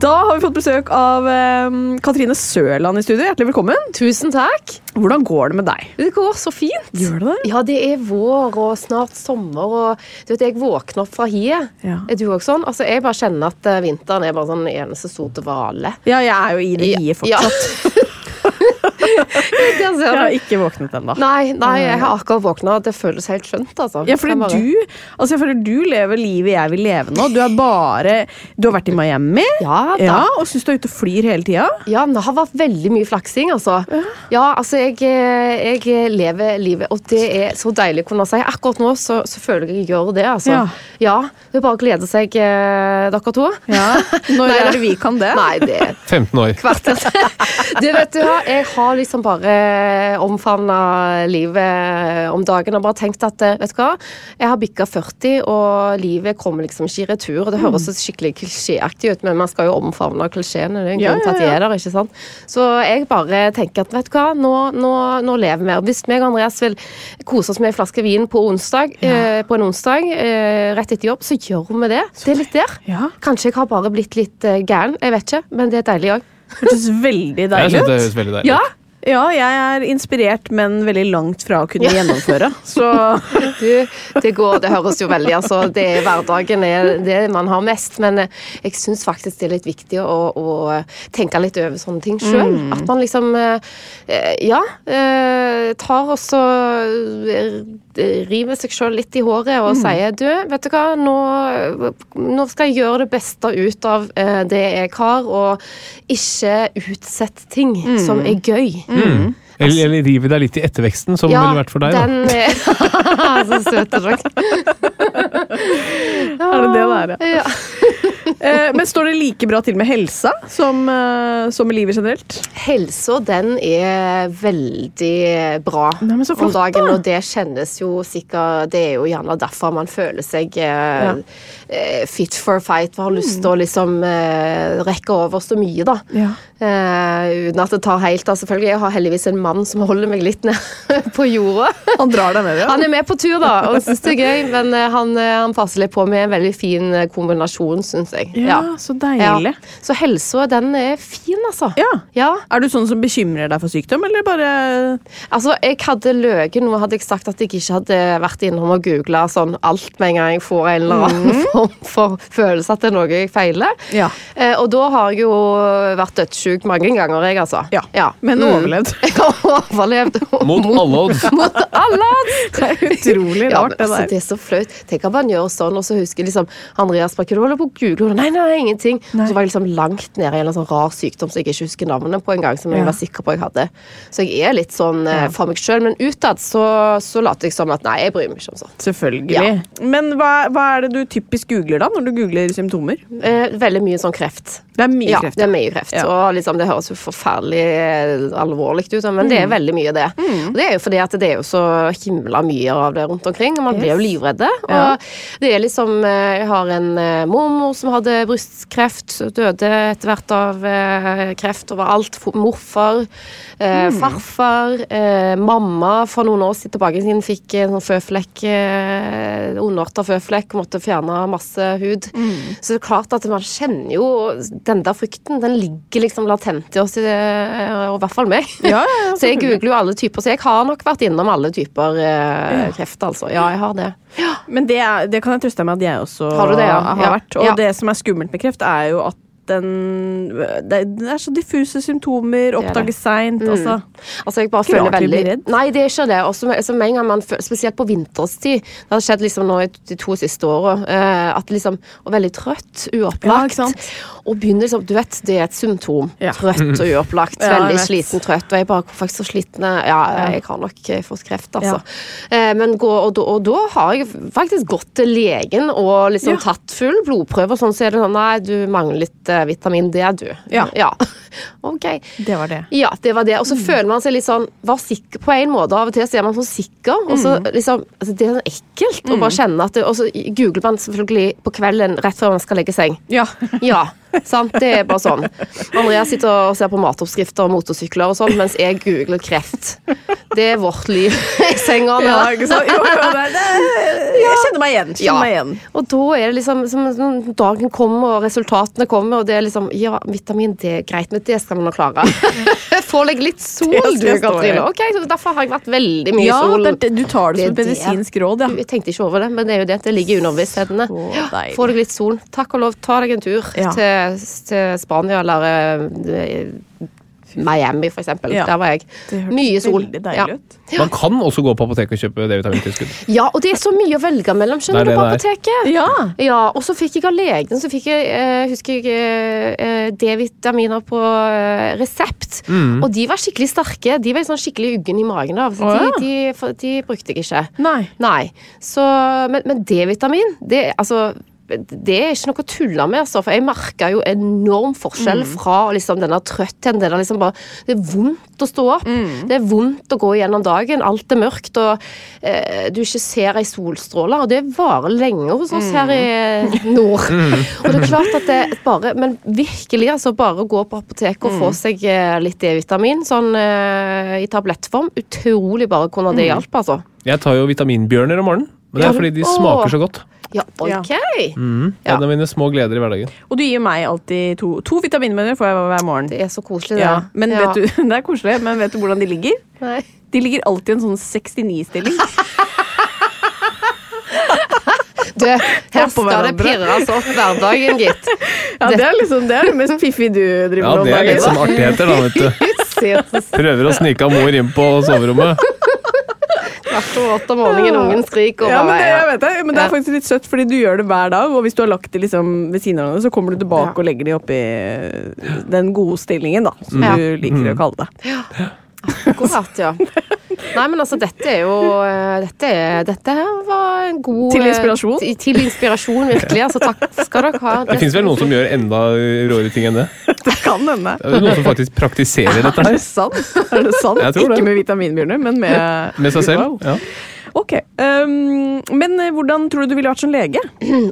Speaker 2: Da har vi fått besøk av eh, Katrine Sørland i studio. Hjertelig velkommen.
Speaker 5: Tusen takk.
Speaker 2: Hvordan går det med deg?
Speaker 5: Det går så fint.
Speaker 2: Gjør det det?
Speaker 5: Ja, det er vår og snart sommer, og du vet, jeg våkner opp fra hiet.
Speaker 2: Ja.
Speaker 5: Er du også sånn? Altså, jeg bare kjenner at eh, vinteren er bare sånn eneste stor dvale.
Speaker 2: Ja, jeg er jo i det hiet fortsatt.
Speaker 5: Ja. Der
Speaker 2: Jeg
Speaker 5: ser
Speaker 2: har
Speaker 5: du.
Speaker 2: ikke våknet ennå.
Speaker 5: Nei, nei, jeg har akkurat våkna. Det føles helt skjønt, altså.
Speaker 2: Ja, fordi
Speaker 5: Jeg bare-
Speaker 2: du, altså jeg føler du lever livet jeg vil leve nå. Du er bare Du har vært i Miami
Speaker 5: Ja, da.
Speaker 2: ja, og syns du er ute og flyr hele tida.
Speaker 5: Ja, det har vært veldig mye flaksing, altså. Ja, altså, jeg, eh, jeg lever livet, og det er så deilig å kunne si. Akkurat nå så, så føler jeg jeg gjør det, altså.
Speaker 2: Ja.
Speaker 5: ja det er bare å glede seg, eh, dere to.
Speaker 2: Ja. Når
Speaker 5: Nei,
Speaker 2: er
Speaker 5: da.
Speaker 2: det vi kan det?
Speaker 5: Nei, det
Speaker 3: 15 år.
Speaker 5: Du vet du hva, jeg har liksom bare omfavna livet om dagen og bare tenkt at eh, vet du hva, jeg har bikka 40 og livet kommer liksom ikke i retur. og Det høres
Speaker 2: Mm.
Speaker 5: så skikkelig klisjéaktig ut, men man skal jo omfavne klisjeene. Det er en
Speaker 2: Ja,
Speaker 5: grunn til at de
Speaker 2: ja, ja.
Speaker 5: er der, ikke sant. Så jeg bare tenker at vet du hva, nå, nå, nå lever vi. Og Hvis meg og Andreas vil kose oss med en flaske vin på, onsdag, eh, på en onsdag eh, rett etter jobb, så gjør vi det. Det er litt der.
Speaker 2: Ja.
Speaker 5: Kanskje jeg har bare blitt litt eh, gæren, jeg vet ikke, men det er deilig òg.
Speaker 2: Hørtes veldig
Speaker 3: Jeg
Speaker 2: deilig
Speaker 3: synes det
Speaker 2: ut.
Speaker 3: høres veldig deilig
Speaker 5: Ja,
Speaker 3: ut.
Speaker 2: Ja, jeg er inspirert, men veldig langt fra å kunne gjennomføre. Så
Speaker 5: Du, det går, det høres jo veldig altså, det er Hverdagen er det man har mest, men eh, jeg syns faktisk det er litt viktig å, å tenke litt over sånne ting sjøl. At man liksom eh, eh, ja, eh, tar og så eh, river seg sjøl litt i håret og sier du, vet du hva, nå, nå skal jeg gjøre det beste ut av eh, det jeg har, og ikke utsette ting som er gøy.
Speaker 3: Mm. Eller, eller rive deg litt i etterveksten, som ville vært for deg. Da.
Speaker 5: den er- Så søte dere.
Speaker 2: er det det det er, ja.
Speaker 5: Ja.
Speaker 2: Eh, Men står det like bra til med helsa som, eh, som med livet generelt?
Speaker 5: Helsa, den er veldig bra
Speaker 2: Nei, men så flott,
Speaker 5: om dagen,
Speaker 2: da.
Speaker 5: og det kjennes jo sikkert Det er jo gjerne derfor man føler seg eh,
Speaker 2: Ja.
Speaker 5: eh, fit for fight, har lyst til å liksom eh, rekke over så mye, da.
Speaker 2: Ja.
Speaker 5: Eh, uten at det tar helt av, selvfølgelig. Jeg har heldigvis en mann som holder meg litt ned på jorda.
Speaker 2: Han drar deg med, ja.
Speaker 5: Han er med på tur, da, og syns det er gøy, men eh, han, eh, han passer litt på med en veldig fin eh, kombinasjon, syns jeg.
Speaker 2: Ja, så deilig.
Speaker 5: Ja. Så helsa, den er fin, altså.
Speaker 2: Ja.
Speaker 5: ja.
Speaker 2: Er du sånn som bekymrer deg for sykdom, eller bare
Speaker 5: Altså, jeg hadde løken, nå hadde jeg sagt at jeg ikke hadde vært innom og googla sånn alt med en gang jeg får en eller annen form for følelse at det er noe jeg feiler.
Speaker 2: Mhm. Ja.
Speaker 5: Eh, og da har jeg jo vært dødssyk mange ganger, jeg, altså.
Speaker 2: Ja, men overlevd.
Speaker 5: Jeg har overlevd.
Speaker 3: Mot alle odds.
Speaker 5: Mot alle odds!
Speaker 2: Det er utrolig
Speaker 5: Ja,
Speaker 2: rart,
Speaker 5: men, altså,
Speaker 2: det
Speaker 5: det
Speaker 2: der.
Speaker 5: er så flaut. Tenk at man gjør sånn, og så husker liksom Andreas bare, Hva holder du på å google? Nei, nei, nei ingenting.
Speaker 2: Nei.
Speaker 5: Så var jeg liksom langt nede i en sånn rar sykdom som jeg ikke husker navnet på engang. Som
Speaker 2: Ja.
Speaker 5: jeg var sikker på jeg hadde. Så jeg er litt sånn eh, for meg sjøl, men utad så, så later jeg som at nei, jeg bryr meg ikke om sånt.
Speaker 2: Selvfølgelig. Men hva, hva er det du typisk googler da, når du googler symptomer?
Speaker 5: Eh, veldig mye sånn kreft.
Speaker 6: Det er mye
Speaker 5: Ja,
Speaker 6: kreft.
Speaker 5: det er mye kreft.
Speaker 6: Ja.
Speaker 5: Og liksom, det høres jo forferdelig eh, alvorlig ut, men det er
Speaker 6: Mm.
Speaker 5: veldig mye det. Og det er jo fordi at det er jo så himla mye av det rundt omkring, og man blir jo livredde.
Speaker 6: Ja.
Speaker 5: Og det er liksom eh, Jeg har en eh, mormor som hadde brystkreft, døde etter hvert av eh, kreft overalt. Fo- Morfar, eh,
Speaker 6: Mm.
Speaker 5: farfar, eh, mamma for noen år siden tilbake siden fikk en sånn føflekk, eh, underarta føflekk, måtte fjerne masse hud.
Speaker 6: Mm.
Speaker 5: Så det er klart at man kjenner jo den der frykten. Den ligger liksom latent i oss, i det, og i hvert fall meg.
Speaker 6: Ja, ja, ja,
Speaker 5: så jeg
Speaker 6: selvfølgelig.
Speaker 5: googler jo alle typer, så jeg har nok vært innom alle typer eh, kreft, altså. Ja, jeg har det.
Speaker 2: Men det, er, det kan jeg trøste deg med at jeg også
Speaker 5: Har du det, ja?
Speaker 2: har
Speaker 5: Ja.
Speaker 2: vært. Og
Speaker 5: Ja.
Speaker 2: det som er skummelt med kreft, er jo at den Det det er så diffuse symptomer,
Speaker 5: det.
Speaker 2: oppdages seint, altså.
Speaker 5: Altså, jeg bare
Speaker 2: Ikke
Speaker 5: føler
Speaker 2: rart vi
Speaker 5: veldig
Speaker 2: blir redd.
Speaker 5: Nei, det er ikke det. Og så med- så med en gang man føler, spesielt på vinterstid, det har skjedd liksom nå i de to siste åra, eh, at liksom Og veldig trøtt,
Speaker 2: Ja, ikke
Speaker 5: uopplagt.
Speaker 2: sant?
Speaker 5: og begynner liksom Du vet, det er et symptom.
Speaker 2: Ja.
Speaker 5: Trøtt og uopplagt.
Speaker 2: Ja, jeg
Speaker 5: veldig
Speaker 2: vet.
Speaker 5: sliten, trøtt. Og jeg bare Hvorfor er jeg så sliten? eh, Ja, jeg har nok eh, fått kreft, altså. Eh, men gå, og, da- og da har jeg faktisk gått til legen og liksom
Speaker 2: Ja.
Speaker 5: tatt full blodprøve, og sånn, så er det sånn Nei, du mangler litt eh, vitamin D, du.
Speaker 2: Ja.
Speaker 5: OK.
Speaker 2: Det var det.
Speaker 5: Ja, det var det. Og så
Speaker 2: Mm.
Speaker 5: føler man seg litt sånn var sikker på en måte. Av og til så er man så sikker. Og så
Speaker 2: Mm.
Speaker 5: liksom, altså Det er sånn ekkelt å bare kjenne at det, Og så googler man selvfølgelig på kvelden rett før man skal legge seng.
Speaker 2: Ja.
Speaker 5: Ja, sant? Det er bare sånn. Andrea sitter og ser på matoppskrifter og motorsykler og sånn, mens jeg googler kreft. Det er vårt liv i senga. nå.
Speaker 2: ja ikke sant? Jo, jo, det, er- det, jeg kjenner meg igjen. Kjenner
Speaker 5: Ja.
Speaker 2: meg igjen.
Speaker 5: Og da er det liksom som, som Dagen kommer, og resultatene kommer, og det er liksom Ja, vitamin D, greit, men det skal man nå klare. Få deg litt sol,
Speaker 2: Det skal
Speaker 5: du,
Speaker 2: jeg stå i.
Speaker 5: Katrine. Ok, så Derfor har jeg vært veldig mye
Speaker 2: Ja,
Speaker 5: sol.
Speaker 2: det, er det- du tar det som et
Speaker 5: Det er det.
Speaker 2: medisinsk råd, ja.
Speaker 5: Jeg tenkte ikke over det, men det er jo det. Det ligger i underbevissthetene.
Speaker 2: Så
Speaker 5: Ja,
Speaker 2: deilig.
Speaker 5: Få deg litt sol. Takk og lov, ta deg en tur
Speaker 2: Ja.
Speaker 5: til, til Spania eller eh, Miami, for eksempel.
Speaker 2: Ja.
Speaker 5: Der var jeg.
Speaker 2: Det hørtes
Speaker 5: Mye sol.
Speaker 2: veldig
Speaker 5: Ja.
Speaker 2: deilig ut.
Speaker 3: Man kan også gå på apoteket og kjøpe D-vitamintilskudd.
Speaker 5: ja, og det er så mye å velge mellom,
Speaker 3: Det
Speaker 5: skjønner du,
Speaker 3: er
Speaker 5: på
Speaker 3: det det
Speaker 5: apoteket.
Speaker 2: Ja.
Speaker 5: Ja, og så fikk jeg av legen så fikk jeg, eh, husker jeg, eh, eh, D-vitaminer på eh, resept.
Speaker 2: Mm.
Speaker 5: Og de var skikkelig sterke. De var sånn skikkelig uggen i magen av. Så
Speaker 2: Å, ja.
Speaker 5: de, de, for, de brukte jeg ikke.
Speaker 2: Nei.
Speaker 5: Nei. Så, men men D-vitamin, det, altså, det er ikke noe å tulle med. Altså, for jeg merka jo enorm forskjell fra liksom, denne trøttheten. Denne, liksom, bare, det er vondt å stå opp. Det er vondt å gå gjennom dagen. Alt er mørkt, og eh, du ikke ser ei solstråle. Og det varer lenge hos oss her i nord. Og det er klart at det bare Men virkelig, altså, bare å gå på apoteket og få seg eh, litt D-vitamin sånn eh, i tablettform. Utrolig bare hvordan det hjalp, altså.
Speaker 3: Jeg tar jo vitaminbjørner om morgenen, men det er fordi de
Speaker 5: Åh.
Speaker 3: smaker så godt.
Speaker 5: Ja, ok.
Speaker 3: Det er en av mine små gleder i hverdagen.
Speaker 2: Og du gir meg alltid to, to vitaminbønner får jeg hver morgen.
Speaker 5: Det er så koselig, det.
Speaker 2: Ja, men
Speaker 5: Ja.
Speaker 2: vet du, Det er koselig, men vet du hvordan de ligger?
Speaker 5: Nei.
Speaker 2: De ligger alltid i en sånn 69-stilling.
Speaker 5: Du, her
Speaker 2: Oppå
Speaker 5: skal det
Speaker 2: hverandre.
Speaker 5: pirres opp hverdagen, gitt.
Speaker 2: Ja, det er liksom det er det mest fiffige du driver
Speaker 3: Ja,
Speaker 2: med om
Speaker 3: det er
Speaker 2: dagen.
Speaker 3: litt sånn artigheter, da, vet du. Prøver å snike av mor inn på soverommet.
Speaker 5: Kvart over åtte om morgenen, ungen skriker og
Speaker 2: Ja, men
Speaker 5: bare
Speaker 2: det, jeg vet det, men det er
Speaker 5: Ja.
Speaker 2: faktisk litt søtt, fordi du gjør det hver dag. Og hvis du har lagt det liksom ved siden av hverandre, så kommer du tilbake
Speaker 5: Ja.
Speaker 2: og legger de oppi den gode stillingen, da, som
Speaker 5: Ja.
Speaker 2: du liker
Speaker 3: Mm.
Speaker 2: å kalle det.
Speaker 5: Akkurat, ja. Nei, men altså, dette er jo eh, Dette, er- dette her var en god
Speaker 2: Til
Speaker 5: eh,
Speaker 2: inspirasjon.
Speaker 5: Til, til inspirasjon, virkelig. Altså, takk skal dere ha.
Speaker 3: Det fins vel noen som gjør enda råere ting enn det?
Speaker 2: Det kan hende.
Speaker 3: Det er jo noen som faktisk praktiserer dette
Speaker 2: Er
Speaker 3: her
Speaker 2: det sant? Er det sant?
Speaker 3: Jeg tror det.
Speaker 2: Ikke med vitaminbjørner, men med
Speaker 3: med seg selv.
Speaker 2: Wow.
Speaker 3: Ja.
Speaker 2: Ok. Um, men eh, hvordan tror du du ville vært som lege?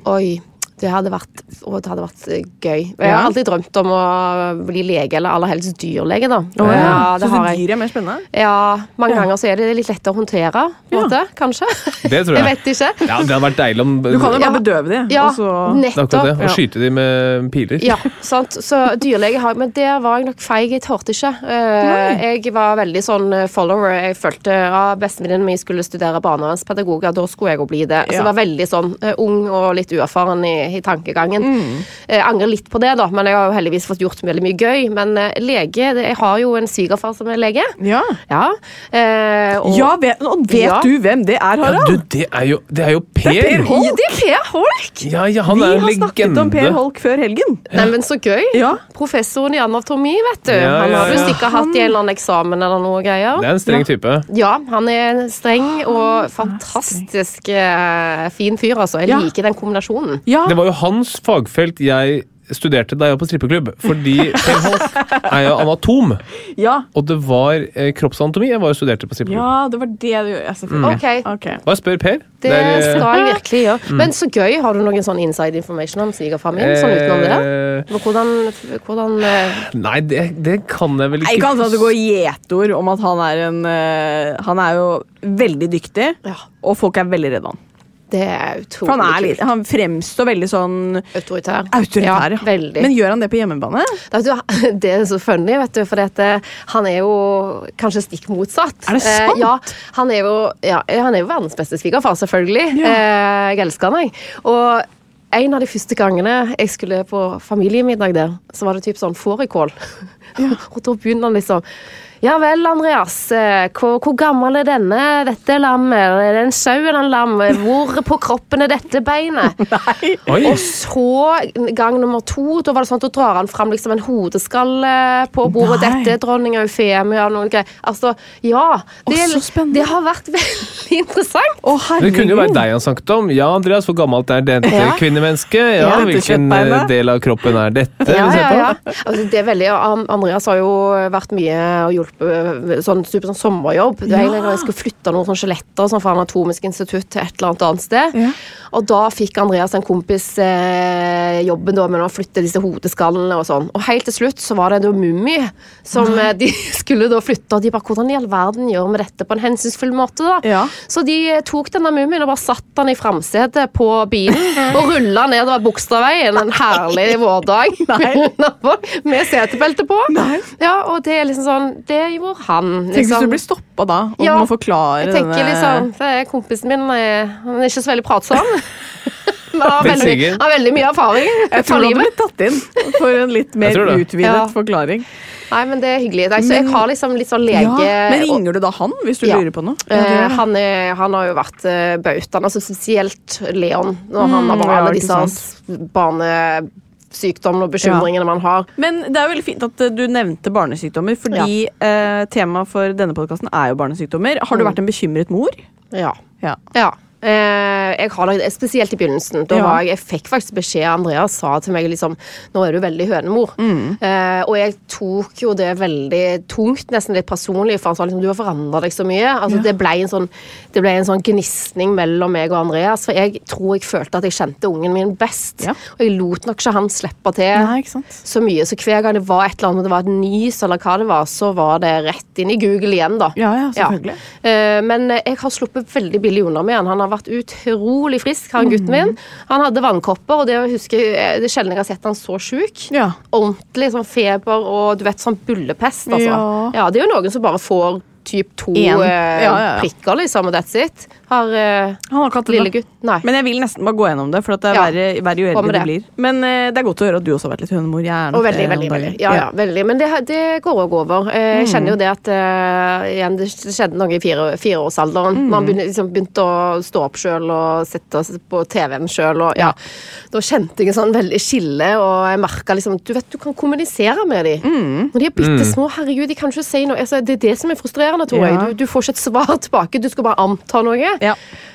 Speaker 5: Oi. Det hadde vært, å, det hadde vært eh, gøy. Jeg har
Speaker 2: Ja.
Speaker 5: alltid drømt om å bli lege, eller aller helst dyrlege, da.
Speaker 2: Så dyr er mer spennende?
Speaker 5: Ja, mange ganger så er det litt lettere å håndtere, på en
Speaker 2: Ja.
Speaker 5: måte, kanskje.
Speaker 3: Det tror jeg.
Speaker 5: Jeg vet ikke.
Speaker 3: Ja, det hadde vært deilig om
Speaker 2: Du kan jo
Speaker 3: Det
Speaker 2: bare
Speaker 5: Ja.
Speaker 2: bedøve det.
Speaker 5: Ja,
Speaker 2: og så-
Speaker 3: er akkurat det.
Speaker 5: nettopp.
Speaker 3: Å skyte de med piler.
Speaker 5: Ja, sant. Så dyrlege har Men der var jeg nok feig. Jeg torde ikke. Eh, jeg var veldig sånn eh, follower. Jeg følte ja, bestevenninnen min skulle studere barnevernspedagoger, da skulle jeg jo bli det. Så
Speaker 2: Ja.
Speaker 5: jeg var veldig sånn eh, ung og litt uerfaren i, i tankegangen. Eh, Jeg angrer litt på det, da, men jeg har jo heldigvis fått gjort veldig mye gøy. Men eh, lege det- Jeg har jo en svigerfar som er lege.
Speaker 2: Ja,
Speaker 5: Ja. Eh, og-
Speaker 2: ja vet, og vet
Speaker 5: Ja.
Speaker 2: du hvem det er,
Speaker 3: Ja, du,
Speaker 2: Harald?
Speaker 3: det er jo, det er jo Per!
Speaker 2: Holk.
Speaker 5: Ja, det er Per Holk!
Speaker 3: Ja, ja, han
Speaker 2: Vi
Speaker 3: er
Speaker 2: har
Speaker 3: en
Speaker 2: snakket om Per
Speaker 3: legende.
Speaker 2: Holk før helgen.
Speaker 5: Nei, men så gøy.
Speaker 2: Ja.
Speaker 5: Professoren i anatomi, vet du.
Speaker 3: Ja,
Speaker 5: han
Speaker 3: ja,
Speaker 5: har jo
Speaker 3: ja.
Speaker 5: sikkert hatt i en eller annen eksamen eller noe greier.
Speaker 3: Det er en streng type.
Speaker 5: Ja, han er streng og fantastisk eh, fin fyr, altså. Jeg
Speaker 2: Ja.
Speaker 5: liker den kombinasjonen.
Speaker 2: Ja,
Speaker 3: Det var jo hans fagfelt jeg studerte da jeg var på strippeklubb, fordi Per Holk er jo anatom.
Speaker 2: Ja.
Speaker 3: Og det var eh, kroppsanatomi jeg var og studerte på strippeklubb.
Speaker 2: ja, det var det du gjorde. Ja, selvfølgelig.
Speaker 5: Ok,
Speaker 2: Ok.
Speaker 3: Bare spør Per.
Speaker 5: det
Speaker 3: er, eh,
Speaker 5: skal jeg virkelig gjøre. Men så gøy. Har du noen sånn inside information om svigerfamilien sånn utenom det?
Speaker 3: eh,
Speaker 5: Hvordan, hvordan eh,
Speaker 3: Nei, det, det kan jeg vel
Speaker 2: Nei,
Speaker 3: ikke.
Speaker 2: Ikke annet at det går gjetord om at han er en eh, Han er jo veldig dyktig,
Speaker 5: Ja.
Speaker 2: og folk er veldig redde han.
Speaker 5: Det er utrolig
Speaker 2: For han, er litt,
Speaker 5: kult.
Speaker 2: han fremstår veldig sånn
Speaker 5: Autoritær.
Speaker 2: autoritær.
Speaker 5: Ja, veldig.
Speaker 2: Men gjør han det på hjemmebane?
Speaker 5: Vet du, det er så funny, vet du, for eh, han er jo kanskje stikk motsatt.
Speaker 2: Er det sant?
Speaker 5: Eh, ja, han er jo, ja, han er jo verdens beste svigerfar, selvfølgelig. Eh, jeg elsker han, jeg. Og en av de første gangene jeg skulle på familiemiddag der, så var det typ sånn fårikål. Og da begynner han liksom Ja vel, Andreas. eh, Hvor, hvor gammel er denne, dette lammet? Er det en sau eller en lam? Hvor på kroppen er dette beinet?
Speaker 3: Oi,
Speaker 5: Og så gang nummer to, da var det sånn at da drar han fram liksom en hodeskalle på bordet.
Speaker 2: Nei.
Speaker 5: Dette er dronning Eufemia og noen greier. Altså, ja. Det,
Speaker 2: Å, så spennende.
Speaker 5: det har vært veldig interessant.
Speaker 2: Å,
Speaker 3: det kunne jo være
Speaker 2: herregud!
Speaker 3: deg han snakket om. Ja, Andreas, hvor gammelt er dette
Speaker 5: Ja.
Speaker 3: kvinnemennesket?
Speaker 2: Ja,
Speaker 3: Ja,
Speaker 2: dette
Speaker 3: Hvilken eh,
Speaker 2: kjøttbeinet.
Speaker 3: del av kroppen er dette?
Speaker 5: Ja,
Speaker 3: vi ser
Speaker 5: ja,
Speaker 3: på?
Speaker 5: ja. Altså, det er veldig, An- Andreas har jo vært mye og hjulpet sånn, type sånn sommerjobb. Det var egentlig da Jeg skulle flytte noen sånn skjeletter sånn, fra Anatomisk institutt til et eller annet annet sted.
Speaker 2: Ja.
Speaker 5: Og da fikk Andreas en kompis eh, jobben da, med å flytte disse hodeskallene og sånn. Og helt til slutt så var det en mumie som eh, de skulle da flytte. Og de bare Hvordan i all verden gjør vi dette på en hensynsfull måte, da?
Speaker 2: Ja.
Speaker 5: Så de eh, tok denne mumien og bare satt den i framsetet på bilen og rulla nedover Bogstadveien en herlig vårdag med setebelte på. Ja, og det er liksom sånn Det gjorde han.
Speaker 2: Tenk hvis
Speaker 5: liksom.
Speaker 2: du blir stoppa da, og
Speaker 5: Ja,
Speaker 2: du må forklare
Speaker 5: Jeg tenker
Speaker 2: denne
Speaker 5: liksom det er Kompisen min han er, han er ikke så veldig pratsom. Men han har
Speaker 3: Helt
Speaker 5: veldig,
Speaker 3: sikkert.
Speaker 5: han har veldig mye erfaring
Speaker 2: Jeg
Speaker 5: fra
Speaker 2: tror du hadde
Speaker 5: livet.
Speaker 2: blitt tatt inn for en litt mer
Speaker 3: tror det.
Speaker 2: utvidet
Speaker 5: Ja.
Speaker 2: forklaring.
Speaker 5: Nei, men det er hyggelig. Nei, så jeg har liksom litt sånn lege...
Speaker 2: Ja. Men ringer du da han hvis du
Speaker 5: Ja.
Speaker 2: lurer på noe?
Speaker 5: Eh, han, er, han har jo vært eh, bautaen, altså spesielt Leon, når han har bare
Speaker 2: ja,
Speaker 5: alle
Speaker 2: ikke
Speaker 5: disse barnesykdommene og bekymringene man har.
Speaker 2: Men det er veldig fint at eh, du nevnte barnesykdommer, fordi eh, temaet for denne podkasten er jo barnesykdommer. Har
Speaker 5: Mm.
Speaker 2: du vært en bekymret mor?
Speaker 5: Ja.
Speaker 2: Ja.
Speaker 5: ja. Eh, jeg har nok, spesielt i begynnelsen. Da
Speaker 2: Ja.
Speaker 5: var jeg, jeg fikk faktisk beskjed Andreas sa til meg liksom, nå er du veldig hønemor.
Speaker 2: Mm.
Speaker 5: Eh, og jeg tok jo det veldig tungt, nesten litt personlig, for han sa liksom, du har forandra deg så mye. Altså, Det ble en sånn, det ble en sånn gnisning mellom meg og Andreas, for jeg tror jeg følte at jeg kjente ungen min best.
Speaker 2: Ja.
Speaker 5: Og jeg lot nok ikke han slippe til
Speaker 2: ikke sant?
Speaker 5: så mye. Så hver gang det var et eller annet, om det var et nys eller hva det var, så var det rett inn i Google igjen, da.
Speaker 2: Ja, ja, selvfølgelig.
Speaker 5: Eh, Men eh, jeg har sluppet veldig billig unna med han. Han har vært utrolig frisk, han gutten
Speaker 2: Mm.
Speaker 5: min. Han hadde vannkopper, og det, husker, jeg- eh, det er sjelden jeg har sett han så sjuk.
Speaker 2: Ja.
Speaker 5: Ordentlig sånn feber og du vet, sånn bullepest, altså.
Speaker 2: Ja.
Speaker 5: det er jo noen som bare får typ to
Speaker 2: En. Ja,
Speaker 5: eh,
Speaker 2: ja, ja.
Speaker 5: prikker, liksom, og that's it. Har eh,
Speaker 2: Han har ikke hatt det
Speaker 5: lille
Speaker 2: da.
Speaker 5: gutt Nei.
Speaker 2: Men jeg vil nesten bare gå gjennom det, for at det er
Speaker 5: Ja.
Speaker 2: verre, verre jo
Speaker 5: Hva
Speaker 2: eldre
Speaker 5: med
Speaker 2: du blir. Men eh, det er godt å høre at du også har vært litt hønemor. Jeg er
Speaker 5: Og
Speaker 2: nok
Speaker 5: veldig,
Speaker 2: det
Speaker 5: veldig,
Speaker 2: noen
Speaker 5: veldig.
Speaker 2: dager.
Speaker 5: Ja, ja, veldig. Men det, det går òg over. Eh,
Speaker 2: Mm.
Speaker 5: Jeg kjenner jo det at eh, igjen, det skjedde noe i fire, fireårsalderen.
Speaker 2: Mm.
Speaker 5: Man begynte, liksom, begynte å stå opp sjøl og sitte på TV-en sjøl. Ja. Da kjente jeg en sånn veldig skille, og jeg merka liksom Du vet, du kan kommunisere med dem.
Speaker 2: Mm.
Speaker 5: Når de er bitte små, herregud, de kan ikke si noe. Altså, det er det som er frustrerende, tror
Speaker 2: Ja.
Speaker 5: jeg. Du, du får ikke et svar tilbake, du skal bare anta noe.
Speaker 2: Ja.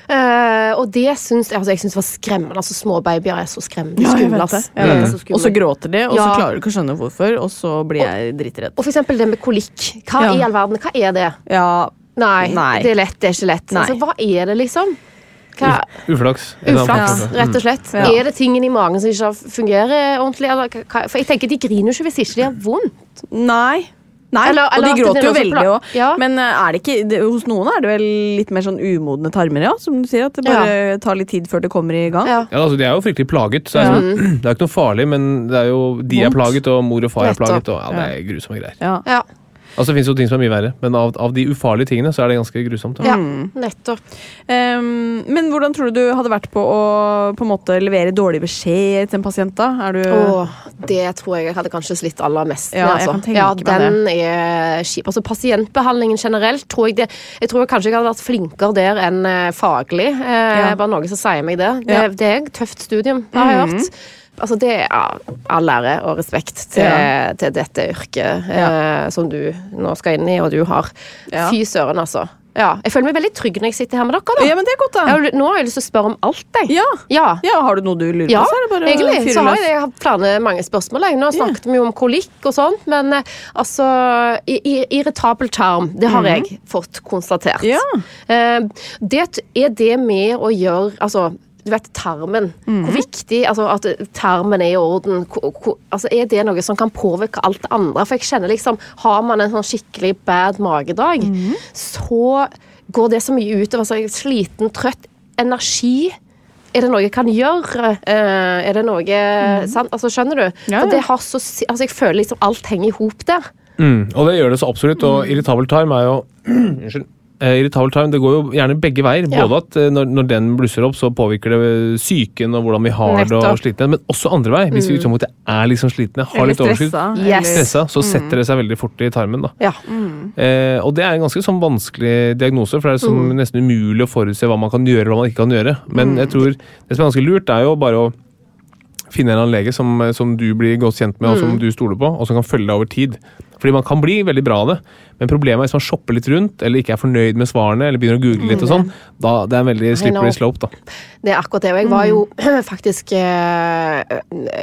Speaker 5: Eh, og det syns altså, jeg syns var skremmende. Altså, små babyer er så skremmende.
Speaker 2: Ja, jeg
Speaker 5: Skumle,
Speaker 2: vet det.
Speaker 5: ass.
Speaker 2: Jeg vet
Speaker 5: Det er
Speaker 2: det.
Speaker 5: så skumle.
Speaker 2: Og så gråter de, og så
Speaker 5: Ja.
Speaker 2: klarer du ikke å skjønne hvorfor, og så blir jeg dritredd.
Speaker 5: Og for eksempel det med kolikk. Hva
Speaker 2: Ja.
Speaker 5: i all verden, hva er det?
Speaker 2: Ja,
Speaker 5: Nei,
Speaker 2: Nei.
Speaker 5: det er lett, det er ikke lett.
Speaker 2: Nei.
Speaker 5: Altså, hva er det, liksom? Hva?
Speaker 3: Uflaks. En annen
Speaker 5: Uflaks,
Speaker 3: form for det.
Speaker 5: rett og slett.
Speaker 2: Ja.
Speaker 5: Er det tingen i magen som ikke fungerer ordentlig? Eller, hva? For jeg tenker, De griner jo ikke hvis ikke de har vondt.
Speaker 2: Nei. Nei,
Speaker 5: Eller- eller
Speaker 2: og de
Speaker 5: at det
Speaker 2: gråter jo
Speaker 5: er noe som
Speaker 2: veldig
Speaker 5: pla-
Speaker 2: òg.
Speaker 5: Ja.
Speaker 2: Men eh, er det ikke, det, hos noen er det vel litt mer sånn umodne tarmer, ja? Som du sier, at det
Speaker 5: Ja.
Speaker 2: bare tar litt tid før det kommer i gang.
Speaker 5: Ja.
Speaker 3: Ja, altså, De er jo fryktelig plaget. så Det er, sånn, det er ikke noe farlig, men det er jo, de er
Speaker 2: Vondt.
Speaker 3: plaget, og mor og far er
Speaker 5: Nettopp.
Speaker 3: plaget. Og, ja, Det er grusomme greier.
Speaker 2: Ja.
Speaker 5: Ja,
Speaker 3: Altså, Det fins jo ting som er mye verre, men av, av de ufarlige tingene så er det ganske grusomt. da.
Speaker 5: ja nettopp.
Speaker 2: Ehm, Mm. men hvordan tror du du hadde vært på å på en måte levere dårlig beskjed til en pasient, da? Er du
Speaker 5: Åh, det tror jeg jeg hadde kanskje slitt aller mest med.
Speaker 2: Ja, jeg
Speaker 5: altså.
Speaker 2: kan tenke
Speaker 5: ja,
Speaker 2: meg
Speaker 5: den er kjip. Altså, pasientbehandlingen generelt tror jeg det Jeg tror kanskje jeg hadde vært flinkere der enn eh, faglig. Eh,
Speaker 2: Ja.
Speaker 5: Bare noe som sier meg det. Det,
Speaker 2: Ja. Mhm.
Speaker 5: det er et tøft studium, det har jeg hørt. Altså, det er ja, all ære og respekt til,
Speaker 2: Ja.
Speaker 5: til dette yrket eh, som du nå skal inn i, og du har.
Speaker 2: Ja.
Speaker 5: Fy søren, altså. Eh, Ja, jeg føler meg veldig trygg når jeg sitter her med dere. da.
Speaker 7: Ja, men det er godt,
Speaker 5: Jeg
Speaker 7: da.
Speaker 5: har lyst- nå har jeg lyst til å spørre om alt, jeg.
Speaker 7: Ja.
Speaker 5: Ja,
Speaker 7: ja, har du noe du lurer
Speaker 5: Ja,
Speaker 7: på, så er det bare å
Speaker 5: egentlig.
Speaker 7: fyre
Speaker 5: Så har
Speaker 7: løs.
Speaker 5: jeg, jeg har flere mange spørsmål. Jeg. Nå snakket vi jo om kolikk og sånt, men eh, altså i, i, Irritabel tarm, det har jeg fått konstatert.
Speaker 7: Mhm. Ja.
Speaker 5: Eh, det t- er det med å gjøre Altså, du vet tarmen. Hvor viktig altså, at tarmen er i orden. Hvor, hvor, altså, er det noe som kan påvirke alt det andre? For jeg kjenner liksom Har man en sånn skikkelig bad magedag, så går det så mye utover. Altså, jeg er sliten, trøtt, energi. Er det noe jeg kan gjøre? Eh, er det noe sant? Altså, Skjønner du?
Speaker 7: Ja,
Speaker 5: For
Speaker 7: ja.
Speaker 5: det har så, si- altså, jeg føler liksom alt henger i hop der.
Speaker 3: Mm, og det gjør det så absolutt.
Speaker 5: Mm.
Speaker 3: Og irritabel time er jo Unnskyld. Eh, Irritabel time, Det går jo gjerne begge veier.
Speaker 5: Ja.
Speaker 3: Både at eh, når, når den blusser opp, så påvirker det eh, psyken og hvordan vi har det, og
Speaker 5: Nettopp. Mm.
Speaker 3: slitne, men også andre vei. Hvis vi i utgangspunktet er liksom slitne, har
Speaker 7: Eller
Speaker 3: litt overskudd,
Speaker 7: stressa,
Speaker 5: Yes.
Speaker 7: eller-
Speaker 3: stressa, så setter det seg veldig fort i tarmen. da.
Speaker 5: Ja.
Speaker 3: Eh, og det er en ganske sånn vanskelig diagnose, for det er sånn
Speaker 5: Mm.
Speaker 3: nesten umulig å forutse hva man kan gjøre og hva man ikke kan gjøre. Men jeg tror det som er ganske lurt, er jo bare å finne en eller annen lege som, som du blir godt kjent med, og
Speaker 5: Mm.
Speaker 3: som du stoler på, og som kan følge deg over tid. Fordi man kan bli veldig bra av det, men problemet er hvis man shopper litt rundt, eller ikke er fornøyd med svarene, eller begynner å google litt og sånn, da det er en veldig
Speaker 5: Mm, know.
Speaker 3: slippery slope, da.
Speaker 5: Det er akkurat det. Og jeg var jo
Speaker 7: Mm.
Speaker 5: faktisk eh,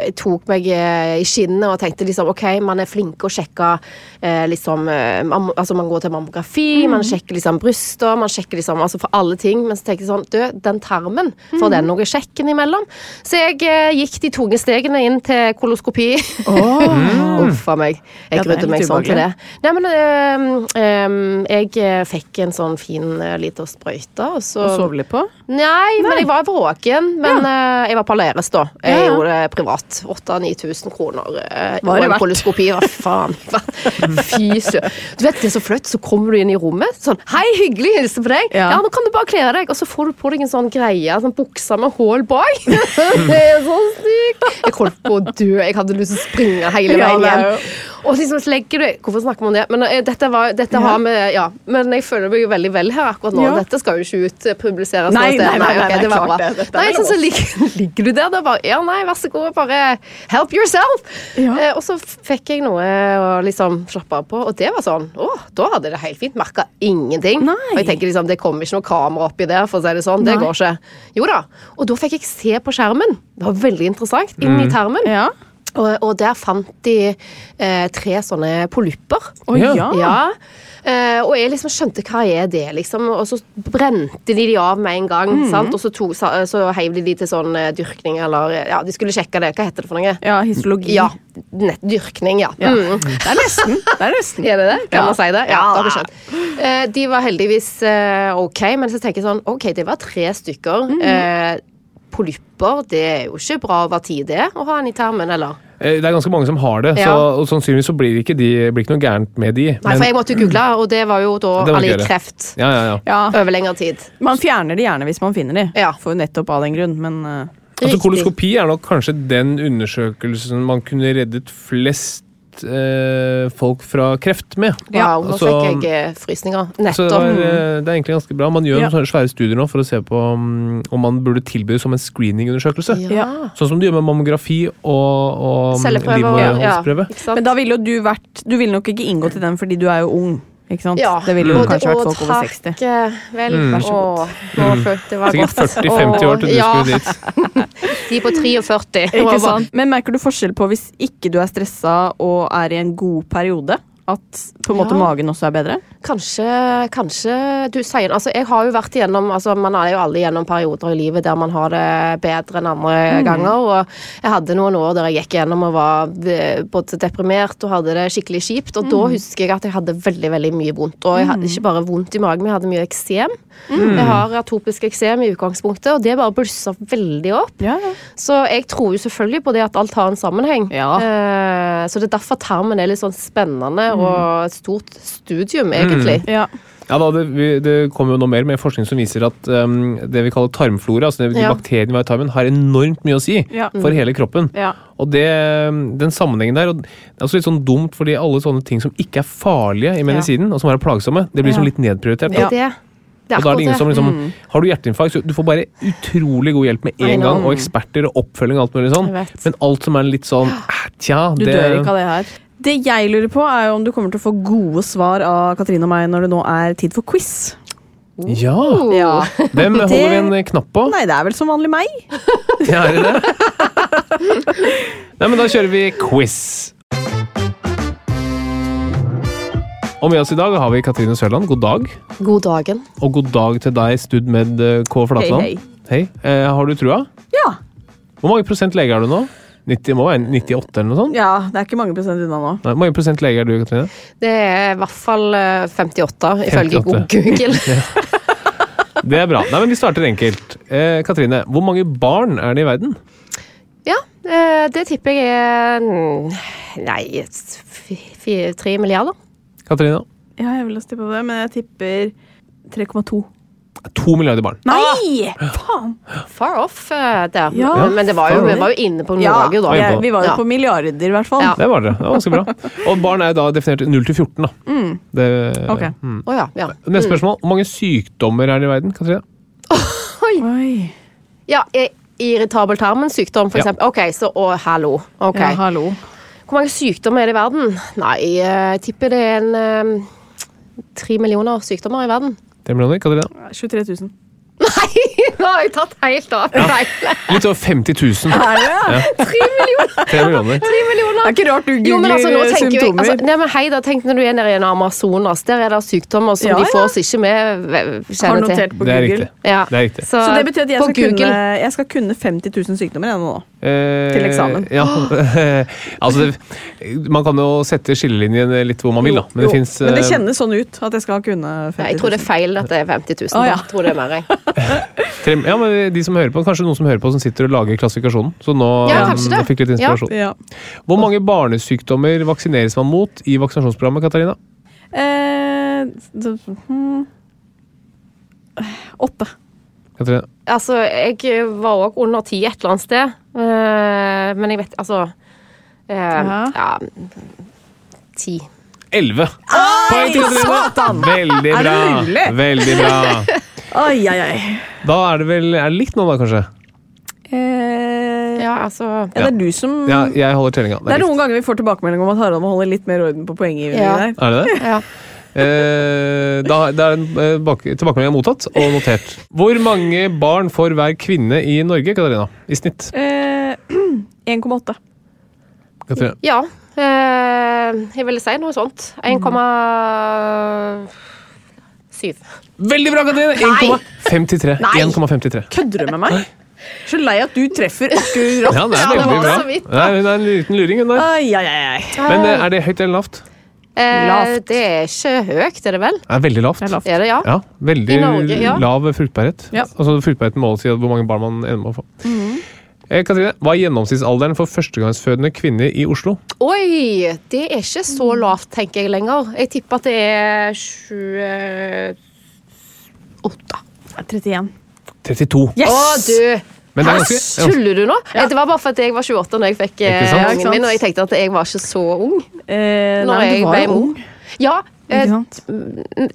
Speaker 5: Jeg tok meg eh, i skinnet og tenkte liksom OK, man er flinke å sjekke eh, liksom eh, mam Altså, man går til mammografi, man
Speaker 7: Mm.
Speaker 5: sjekker liksom bryster, man sjekker liksom Altså for alle ting. Men så tenkte jeg sånn Du, den tarmen, får
Speaker 7: Mm.
Speaker 5: den noe sjekken imellom? Så jeg eh, gikk de tunge stegene inn til koloskopi. Mm. Uff a meg. Jeg
Speaker 7: Mm. Ja, det er
Speaker 5: grudde
Speaker 7: litt
Speaker 5: meg sånn til
Speaker 7: ubehagelig.
Speaker 5: det. Nei, men eh, eh, jeg eh, fikk en sånn fin uh, lita sprøyte, og så
Speaker 7: Og sove litt på.
Speaker 5: Nei, men jeg var våken. Men eh, jeg var på Aleris, da. Jeg
Speaker 7: Ja, ja.
Speaker 5: gjorde det privat. 8000-9000 kroner. eh,
Speaker 7: Var
Speaker 5: og
Speaker 7: det
Speaker 5: en
Speaker 7: verdt?
Speaker 5: koloskopi. Hva faen? Fy søren. Du vet, det er så flott. Så kommer du inn i rommet. Sånn, Hei, hyggelig å hilse på deg. Ja.
Speaker 7: Ja.
Speaker 5: nå kan du bare kle av deg. Og så får du på deg en sånn greie. Sånn buksa med hull bak. det er så sykt. Jeg holdt på å dø. Jeg hadde lyst til å springe hele
Speaker 7: Ja,
Speaker 5: veien
Speaker 7: det er
Speaker 5: hjem.
Speaker 7: jo-
Speaker 5: Og liksom så legger du Hvorfor snakker vi om det? Men eh, dette, var, dette har med Ja. Men jeg føler meg jo veldig vel her akkurat nå.
Speaker 7: Ja.
Speaker 5: Dette skal jo ikke ut eh, publiseres.
Speaker 7: Nei,
Speaker 5: noe sted.
Speaker 7: Altså, nei, nei, nei,
Speaker 5: ok,
Speaker 7: nei,
Speaker 5: det var
Speaker 7: klart
Speaker 5: bra.
Speaker 7: det. Dette er
Speaker 5: Nei,
Speaker 7: lov.
Speaker 5: så, så ligger, ligger du der da bare Ja, nei, vær så god, bare help yourself!
Speaker 7: Ja.
Speaker 5: Eh, og så fikk jeg noe å liksom slappe av på, og det var sånn Å, da hadde det helt fint. Merka ingenting.
Speaker 7: Nei.
Speaker 5: Og jeg tenker liksom, det kommer ikke noe kamera oppi der, for å si det sånn. Det
Speaker 7: Nei.
Speaker 5: går ikke. Jo da. Og da fikk jeg se på skjermen. Det var veldig interessant. Inn i tarmen.
Speaker 7: Mm. Ja.
Speaker 5: Og, og der fant de eh, tre sånne polypper.
Speaker 7: Å,
Speaker 3: Ja.
Speaker 2: Ah.
Speaker 7: ja.
Speaker 5: Ja. Eh, og jeg liksom skjønte hva er det, liksom. Og så brente de de av med en gang. Sant? Og så, to, så, så heiv de de til sånn eh, dyrkning, eller Ja, de skulle sjekke det. Hva heter det for noe?
Speaker 7: ja, histologi.
Speaker 5: Ja, nett, dyrkning, ja.
Speaker 7: Ja.
Speaker 5: Mm.
Speaker 7: Det er nesten. Det er nesten.
Speaker 5: Er det det? Kan
Speaker 7: Ja.
Speaker 5: man si det? Ja,
Speaker 7: Ja.
Speaker 5: da har vi skjønt. Eh, de var heldigvis eh, ok, men så tenker jeg sånn Ok, det var tre stykker. eh, Polypper, det er jo ikke bra over tid, det, å ha den i tarmen, eller?
Speaker 3: Eh, Det er ganske mange som har det,
Speaker 5: Ja.
Speaker 3: så, og sannsynligvis så blir det ikke, de, blir ikke noe gærent med de.
Speaker 5: Nei, for jeg måtte jo google, og det var jo da
Speaker 3: Det var
Speaker 5: alle
Speaker 3: gøy,
Speaker 5: i
Speaker 3: det.
Speaker 5: kreft
Speaker 3: ja, ja, ja.
Speaker 7: Ja.
Speaker 5: over lengre tid.
Speaker 7: Man fjerner det gjerne hvis man finner det.
Speaker 5: Ja.
Speaker 7: For nettopp av den grunn, men eh,
Speaker 3: Altså,
Speaker 5: Riktig.
Speaker 3: koloskopi er nok kanskje den undersøkelsen man kunne reddet flest eh, folk fra kreft med.
Speaker 5: Wow, nå
Speaker 3: altså,
Speaker 5: fikk jeg eh, frysninger.
Speaker 3: Så det,
Speaker 5: Nettopp.
Speaker 3: var, eh, det er egentlig ganske bra. Man gjør
Speaker 7: Ja.
Speaker 3: noen sånne svære studier nå for å se på mm, om man burde tilby det som en screeningundersøkelse.
Speaker 5: ja.
Speaker 3: Sånn som du gjør med mammografi og, og mm,
Speaker 5: Celleprøve og ja,
Speaker 3: livmorhalsprøve.
Speaker 5: ikke sant?
Speaker 7: Men da ville jo du vært Du ville nok ikke inngått i den fordi du er jo ung. Ikke sant?
Speaker 5: ja.
Speaker 7: Det ville jo
Speaker 5: og det-
Speaker 7: kanskje vært
Speaker 5: og
Speaker 7: folk over
Speaker 5: takk,
Speaker 7: 60.
Speaker 5: eh, Vel,
Speaker 3: Mm.
Speaker 5: vær så god. Å, nå følte det var
Speaker 3: Sikkert
Speaker 5: godt.
Speaker 3: 40-50 år til du
Speaker 5: ja,
Speaker 3: skulle dit.
Speaker 5: De på 43.
Speaker 7: Ikke sant? Men merker du forskjell på hvis ikke du er stressa og er i en god periode? At på en måte
Speaker 5: Ja.
Speaker 7: magen også er bedre?
Speaker 5: Kanskje, kanskje du sier altså Jeg har jo vært igjennom altså Man er jo alle igjennom perioder i livet der man har det bedre enn andre ganger. Og jeg hadde noen år der jeg gikk igjennom og var eh, både deprimert og hadde det skikkelig kjipt. Og da husker jeg at jeg hadde veldig veldig mye vondt. Og jeg hadde ikke bare vondt i magen, men jeg hadde mye eksem. Jeg har atopisk eksem i utgangspunktet, og det bare blussa veldig opp.
Speaker 7: Ja, ja.
Speaker 5: Så jeg tror jo selvfølgelig på det at alt har en sammenheng.
Speaker 7: Ja.
Speaker 5: Eh, så det er derfor tarmen er litt sånn spennende og et stort studium, egentlig.
Speaker 7: Ja.
Speaker 3: Ja, da, det, vi, det kommer jo nå mer med forskning som viser at um, det vi kaller tarmflora, altså det, de
Speaker 5: Ja. Mm.
Speaker 3: bakteriene vi har i tarmen, har enormt mye å si
Speaker 7: Ja.
Speaker 3: for hele kroppen.
Speaker 7: Ja.
Speaker 3: Og det, den sammenhengen der, og det er også litt sånn dumt fordi alle sånne ting som ikke er farlige i medisinen, og som er plagsomme, det
Speaker 7: Ja.
Speaker 3: blir liksom litt nedprioritert.
Speaker 5: Det
Speaker 3: da.
Speaker 5: er det. Det er
Speaker 3: Og da er det
Speaker 5: akkurat det. Mm.
Speaker 3: ingen som liksom, Har du hjerteinfarkt, så du får bare utrolig god hjelp med
Speaker 5: I
Speaker 3: en
Speaker 5: know.
Speaker 3: gang, og eksperter og oppfølging og alt mulig sånn.
Speaker 5: Jeg vet.
Speaker 3: Men alt som er litt sånn eh, Tja,
Speaker 7: Du
Speaker 3: det
Speaker 7: dør ikke av det her. Det jeg lurer på, er jo om du kommer til å få gode svar av Katrine og meg når det nå er tid for quiz.
Speaker 3: Ja!
Speaker 5: Uh,
Speaker 2: Ja.
Speaker 3: Hvem holder vi en knapp på?
Speaker 2: Nei, det er vel som vanlig meg.
Speaker 3: Ja, er det det? Nei, men da kjører vi quiz. Og med oss i dag har vi Katrine Sørland. God dag.
Speaker 5: God dagen.
Speaker 3: Og god dag til deg, Stud med eh, K. Flatland.
Speaker 2: Hei,
Speaker 3: Eh, har du trua?
Speaker 2: Ja.
Speaker 3: Hvor mange prosent lege er du nå? 90, må være 98 eller noe sånt?
Speaker 2: ja, det er ikke mange prosent unna nå.
Speaker 3: Nei, hvor mange prosent lege er du, Katrine?
Speaker 5: Det er i hvert fall eh, 58, ifølge
Speaker 3: 58.
Speaker 5: Google.
Speaker 3: Det er bra. Nei, men Vi starter enkelt. Eh, Katrine, hvor mange barn er det i verden?
Speaker 5: Ja, eh, det tipper jeg er mm, Nei, s- fi- fi- tre milliarder.
Speaker 3: Katrine?
Speaker 2: Ja, jeg vil også tippe på det, men jeg tipper 3,2.
Speaker 3: To milliarder barn.
Speaker 2: Nei! Faen!
Speaker 5: Far off eh, der.
Speaker 2: Ja,
Speaker 5: Men det var jo,
Speaker 3: far
Speaker 5: vi
Speaker 3: off.
Speaker 5: var jo inne på
Speaker 2: Ja,
Speaker 5: Norge, da.
Speaker 3: Oi.
Speaker 2: jeg, vi var jo
Speaker 5: Ja.
Speaker 2: på milliarder, i hvert fall.
Speaker 5: Ja.
Speaker 3: Det var det. det var ganske bra. Og barn er da definert 0 til 14. da. Det,
Speaker 2: Ok.
Speaker 3: mm.
Speaker 5: Å ja, ja.
Speaker 3: Neste spørsmål. Hvor mange sykdommer er det i verden? Katrine?
Speaker 2: Oi.
Speaker 5: Mm. ja i- irritabel tarmensykdom, for
Speaker 3: Ja.
Speaker 5: eksempel. Ok, så å, hallo. Ok.
Speaker 2: Ja, hallo.
Speaker 5: Hvor mange sykdommer er det i verden? Nei, eh, jeg tipper det er en eh, Tre millioner sykdommer i verden.
Speaker 3: Det blir noe, Katrine.
Speaker 2: 23 000.
Speaker 5: Nei, nå har jeg tatt helt av. Nei,
Speaker 3: Litt over 50 000.
Speaker 2: Er det?
Speaker 5: tre millioner!
Speaker 3: Tre millioner.
Speaker 5: Tre millioner.
Speaker 2: Det er ikke rart du
Speaker 5: Jo, men
Speaker 2: googler
Speaker 5: altså, nå tenker vi,
Speaker 2: symptomer.
Speaker 5: altså, nei, men hei da, tenk når du er nede i en Amazonas. Der er det sykdommer som
Speaker 2: Ja, ja.
Speaker 5: de får oss ikke med v-
Speaker 2: Har
Speaker 5: kjenner til.
Speaker 2: notert på
Speaker 3: Det er
Speaker 2: Google.
Speaker 3: riktig.
Speaker 5: Ja.
Speaker 3: Det er riktig.
Speaker 2: Så det betyr at jeg
Speaker 5: på
Speaker 2: skal, kunne,
Speaker 5: Google-
Speaker 2: jeg skal kunne 50 000 sykdommer jeg, nå.
Speaker 3: Eh,
Speaker 2: Til eksamen.
Speaker 3: Ja. altså, det, man kan jo sette skillelinjen litt hvor man vil, da. Men
Speaker 2: Jo,
Speaker 3: det eh, fins
Speaker 2: men det kjennes sånn ut at jeg skal kunne 50 000.
Speaker 5: Nei, jeg tror det er feil at det er 50 000.
Speaker 2: Å, ja.
Speaker 5: Jeg tror det er mer, jeg.
Speaker 3: Tre, ja, men de som hører på, Kanskje noen som hører på som sitter og lager klassifikasjonen. Så nå
Speaker 5: Ja,
Speaker 3: eh,
Speaker 5: kanskje det.
Speaker 3: fikk litt inspirasjon.
Speaker 2: Ja.
Speaker 3: Hvor mange barnesykdommer vaksineres man mot i vaksinasjonsprogrammet? Katarina?
Speaker 2: Eh, d- hmm. Åtte.
Speaker 3: Katarina?
Speaker 5: Altså, jeg var òg under ti et eller annet sted, eh, men jeg vet Altså eh,
Speaker 2: Ja.
Speaker 5: Ja Ti.
Speaker 3: 11 poeng til Katarina! Veldig
Speaker 2: Er det
Speaker 3: bra!
Speaker 2: mulig?
Speaker 3: Veldig bra.
Speaker 2: Oi, oi, oi.
Speaker 3: Da er det vel er det likt nå, da, kanskje?
Speaker 2: Mm. Eh, ja.
Speaker 5: Ja, altså
Speaker 2: det er du som
Speaker 3: Ja, jeg holder tellinga.
Speaker 2: Det er
Speaker 3: likt.
Speaker 2: noen ganger vi får tilbakemelding om at Harald må holde litt mer orden på
Speaker 5: Ja.
Speaker 2: poenggivningen. der.
Speaker 3: Er det det?
Speaker 5: ja.
Speaker 3: Eh, da, det er en eh, bak, tilbakemelding jeg har mottatt og notert. Hvor mange barn får hver kvinne i Norge, Katarina? I snitt?
Speaker 2: Eh, 1,8.
Speaker 3: Katarina.
Speaker 5: ja. eh, jeg ville si noe sånt.
Speaker 2: Mm.
Speaker 5: 1,7.
Speaker 3: Veldig bra, Katarina! 1,53.
Speaker 5: Nei!
Speaker 3: 1,53.
Speaker 2: Kødder du med meg? Så lei at du treffer akkurat.
Speaker 3: Ja, det er
Speaker 5: Ja, det
Speaker 3: veldig
Speaker 5: var
Speaker 3: bra.
Speaker 5: så vidt, da.
Speaker 3: Det er, det er en liten luring, hun der.
Speaker 2: Ai, ai, ai, ai.
Speaker 3: Men eh, er det høyt eller lavt?
Speaker 5: Eh,
Speaker 2: Lavt.
Speaker 5: Det er ikke høyt, er det vel?
Speaker 3: Det er veldig lavt.
Speaker 2: Det er lavt.
Speaker 5: Er det, ja?
Speaker 3: Ja, veldig
Speaker 5: I Norge, ja.
Speaker 3: lav fruktbarhet.
Speaker 2: Ja.
Speaker 3: Altså Fruktbarheten måles i hvor mange barn man ender med å få.
Speaker 5: Mhm.
Speaker 3: Eh, Katrine, hva er gjennomsnittsalderen for førstegangsfødende kvinner i Oslo?
Speaker 5: Oi! Det er ikke så
Speaker 2: Mm.
Speaker 5: lavt, tenker jeg lenger. Jeg tipper at det er eh, 28.
Speaker 2: 31.
Speaker 3: 32.
Speaker 2: Yes!
Speaker 5: Å, du!
Speaker 3: Men det er
Speaker 5: Hæ,
Speaker 3: ganske, ja,
Speaker 5: tuller du nå? Eh, Det var bare fordi jeg var 28 når jeg fikk eh,
Speaker 3: Ikke sant? Ja,
Speaker 2: ikke
Speaker 5: ungen
Speaker 2: sant?
Speaker 5: min, og jeg tenkte at jeg var ikke så ung.
Speaker 2: Eh,
Speaker 5: Når
Speaker 2: nei, men
Speaker 5: jeg
Speaker 2: du var
Speaker 5: ble
Speaker 2: jo
Speaker 5: mor.
Speaker 2: ung.
Speaker 5: Ja, eh,
Speaker 2: Ikke sant?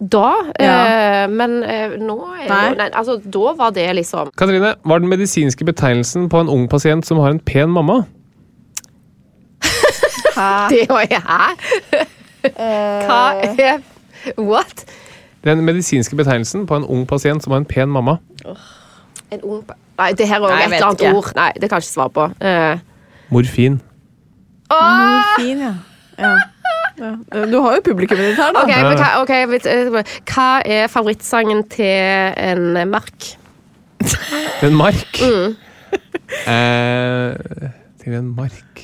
Speaker 5: da,
Speaker 2: Ja.
Speaker 5: eh, men eh, nå er det
Speaker 2: Nei.
Speaker 5: jo- nei, altså, Da var det liksom
Speaker 3: Katrine, hva er den medisinske betegnelsen på en ung pasient som har en pen mamma?
Speaker 5: Det var jeg Hæ? Hva er What?
Speaker 3: Den medisinske betegnelsen på en ung pasient som har en pen mamma.
Speaker 5: En ung pa- Nei, det her er jo
Speaker 2: Nei, jeg
Speaker 5: et
Speaker 2: vet
Speaker 5: eller annet
Speaker 2: ikke.
Speaker 5: ord. Nei, det kan jeg ikke svare på. Eh,
Speaker 3: Morfin.
Speaker 2: Fin, ja. Ja. Ah! ja. Eh, Du har jo publikummet ditt her, da.
Speaker 5: Ok, men hva, ok, vet, eh, hva er favorittsangen til en mark?
Speaker 3: En mark.
Speaker 5: Mm.
Speaker 3: Eh, til en mark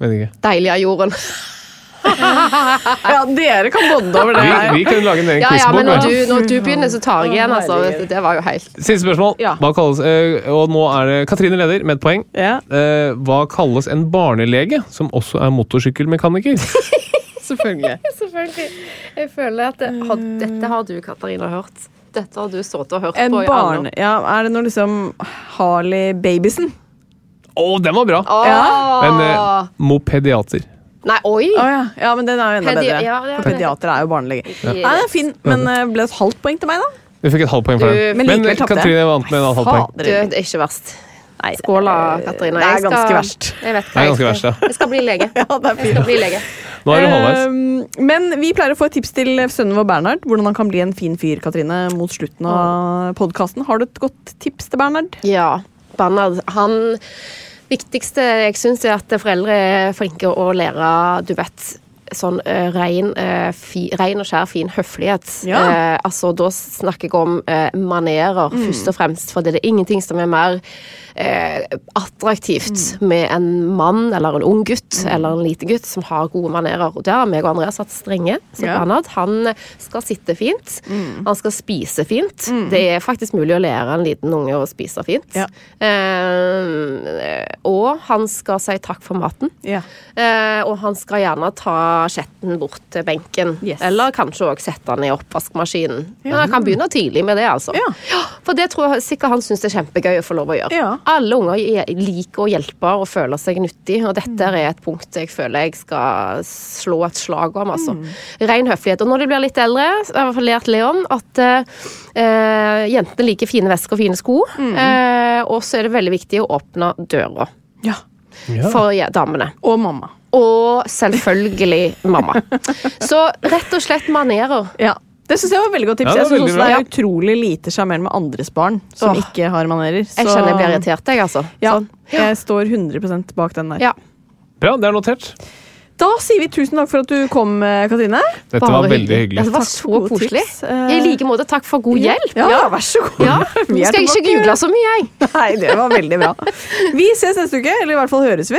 Speaker 3: Vet ikke.
Speaker 5: Deilig av jorden.
Speaker 2: Ja, dere kan bonde over det.
Speaker 3: Vi,
Speaker 2: her.
Speaker 3: vi kan lage en egen
Speaker 5: Ja, ja,
Speaker 3: quizbok.
Speaker 5: men når
Speaker 3: da.
Speaker 5: du, når du begynner, så tar jeg igjen. Altså.
Speaker 2: herregud.
Speaker 5: Det var jo helt
Speaker 3: Siste spørsmål.
Speaker 2: Ja.
Speaker 3: Hva kalles, eh, og nå er det Katrine leder med et poeng.
Speaker 2: Ja,
Speaker 3: Eh, hva kalles en barnelege, som også er motorsykkelmekaniker?
Speaker 2: selvfølgelig.
Speaker 5: Selvfølgelig. Jeg føler at Dette har du, Katarina, hørt. Dette har du stått og hørt
Speaker 2: En
Speaker 5: på.
Speaker 2: barn... Ja, er det når liksom Harley Babyson?
Speaker 3: Å, den var bra! Men eh, mopediater.
Speaker 5: Nei, oi!
Speaker 2: Å ja. ja, men den er jo enda
Speaker 5: Pedi-
Speaker 2: bedre.
Speaker 5: ja, det er
Speaker 2: For pediater er jo barnelege.
Speaker 5: Ja.
Speaker 2: Nei, den er fin, men eh, ble det et halvt poeng til meg, da?
Speaker 3: Du fikk et halvt poeng for
Speaker 5: Du,
Speaker 3: den.
Speaker 2: men likevel tapte jeg.
Speaker 3: Katrine vant med et halvt poeng.
Speaker 5: Du, det er ikke verst. Eh,
Speaker 2: Nei,
Speaker 5: Skål da, Katarina.
Speaker 2: Det
Speaker 5: Jeg
Speaker 2: er
Speaker 5: skal-
Speaker 2: ganske verst.
Speaker 5: Jeg vet
Speaker 3: Det
Speaker 5: hva
Speaker 3: er
Speaker 5: jeg
Speaker 3: ganske verst,
Speaker 5: skal.
Speaker 3: ja.
Speaker 5: Jeg skal bli lege. Jeg skal bli lege.
Speaker 3: Nå er det halvveis.
Speaker 2: Eh, men vi pleier å få et tips til sønnen vår Bernhard. Hvordan han kan bli en fin fyr, Katrine, mot slutten av podkasten. Har du et godt tips til Bernhard?
Speaker 5: Ja, Bernhard. Han viktigste jeg syns er at foreldre er flinke å lære, du vet Sånn eh, ren, eh, fi, ren og skjær fin høflighet.
Speaker 2: Ja.
Speaker 5: Eh, altså, da snakker jeg om eh, manerer,
Speaker 2: Mm.
Speaker 5: først og fremst. For det er ingenting som er mer eh, attraktivt
Speaker 2: Mm.
Speaker 5: med en mann eller en ung gutt eller en liten gutt som har gode manerer. Og der har meg og Andreas hatt strenge. Så
Speaker 2: Ja. Mm.
Speaker 5: Bernhard han skal sitte fint, han skal spise fint. Det er faktisk mulig å lære en liten unge å spise fint.
Speaker 2: Ja.
Speaker 5: Eh, og han skal si takk for maten. Eh, og han skal gjerne ta skjetten bort til benken,
Speaker 2: Yes.
Speaker 5: eller kanskje også sette den i oppvaskmaskinen. Men han kan begynne tidlig med det, altså.
Speaker 2: Ja.
Speaker 5: For det tror jeg sikkert han syns det er kjempegøy å få lov å gjøre.
Speaker 2: Ja.
Speaker 5: Alle unger je- liker å hjelpe og føle seg nyttig, og dette
Speaker 2: Mm.
Speaker 5: er et punkt jeg føler jeg skal slå et slag om, altså.
Speaker 2: Mm.
Speaker 5: Ren høflighet. Og når de blir litt eldre, så har jeg i hvert fall lært Leon at eh, eh, jentene liker fine vesker og fine sko,
Speaker 2: Mm.
Speaker 5: eh, og så er det veldig viktig å åpne døra
Speaker 2: Ja.
Speaker 5: for ja, damene.
Speaker 2: Og mamma.
Speaker 5: Og selvfølgelig mamma. Så rett og slett manerer.
Speaker 2: Ja. Det syns jeg var et veldig godt tips.
Speaker 3: Ja, det
Speaker 2: jeg
Speaker 3: var
Speaker 2: synes
Speaker 3: veldig
Speaker 2: også det
Speaker 3: bra.
Speaker 2: er utrolig lite sjarmerende med andres barn som
Speaker 5: Åh.
Speaker 2: ikke har manerer.
Speaker 5: Jeg
Speaker 2: så-
Speaker 5: kjenner jeg blir irritert, jeg, altså.
Speaker 2: Ja,
Speaker 5: Sånn.
Speaker 2: jeg står 100 bak den der.
Speaker 5: Ja.
Speaker 3: Bra, det er notert.
Speaker 2: Da sier vi tusen takk for at du kom, eh, Katrine.
Speaker 3: Dette
Speaker 5: Bare
Speaker 3: var veldig
Speaker 5: hyggelig. Altså,
Speaker 3: hyggelig.
Speaker 5: Det var
Speaker 2: Takk
Speaker 5: så
Speaker 2: for gode
Speaker 5: koselig.
Speaker 2: tips. Eh,
Speaker 5: I like måte. Takk for god hjelp.
Speaker 2: Ja, vær så god.
Speaker 5: Ja.
Speaker 2: Vi
Speaker 5: Nå
Speaker 2: er
Speaker 5: skal jeg ikke
Speaker 2: tilbake.
Speaker 5: google så mye, jeg.
Speaker 2: Nei, det var veldig bra. Vi ses neste uke, eller i hvert fall høres vi.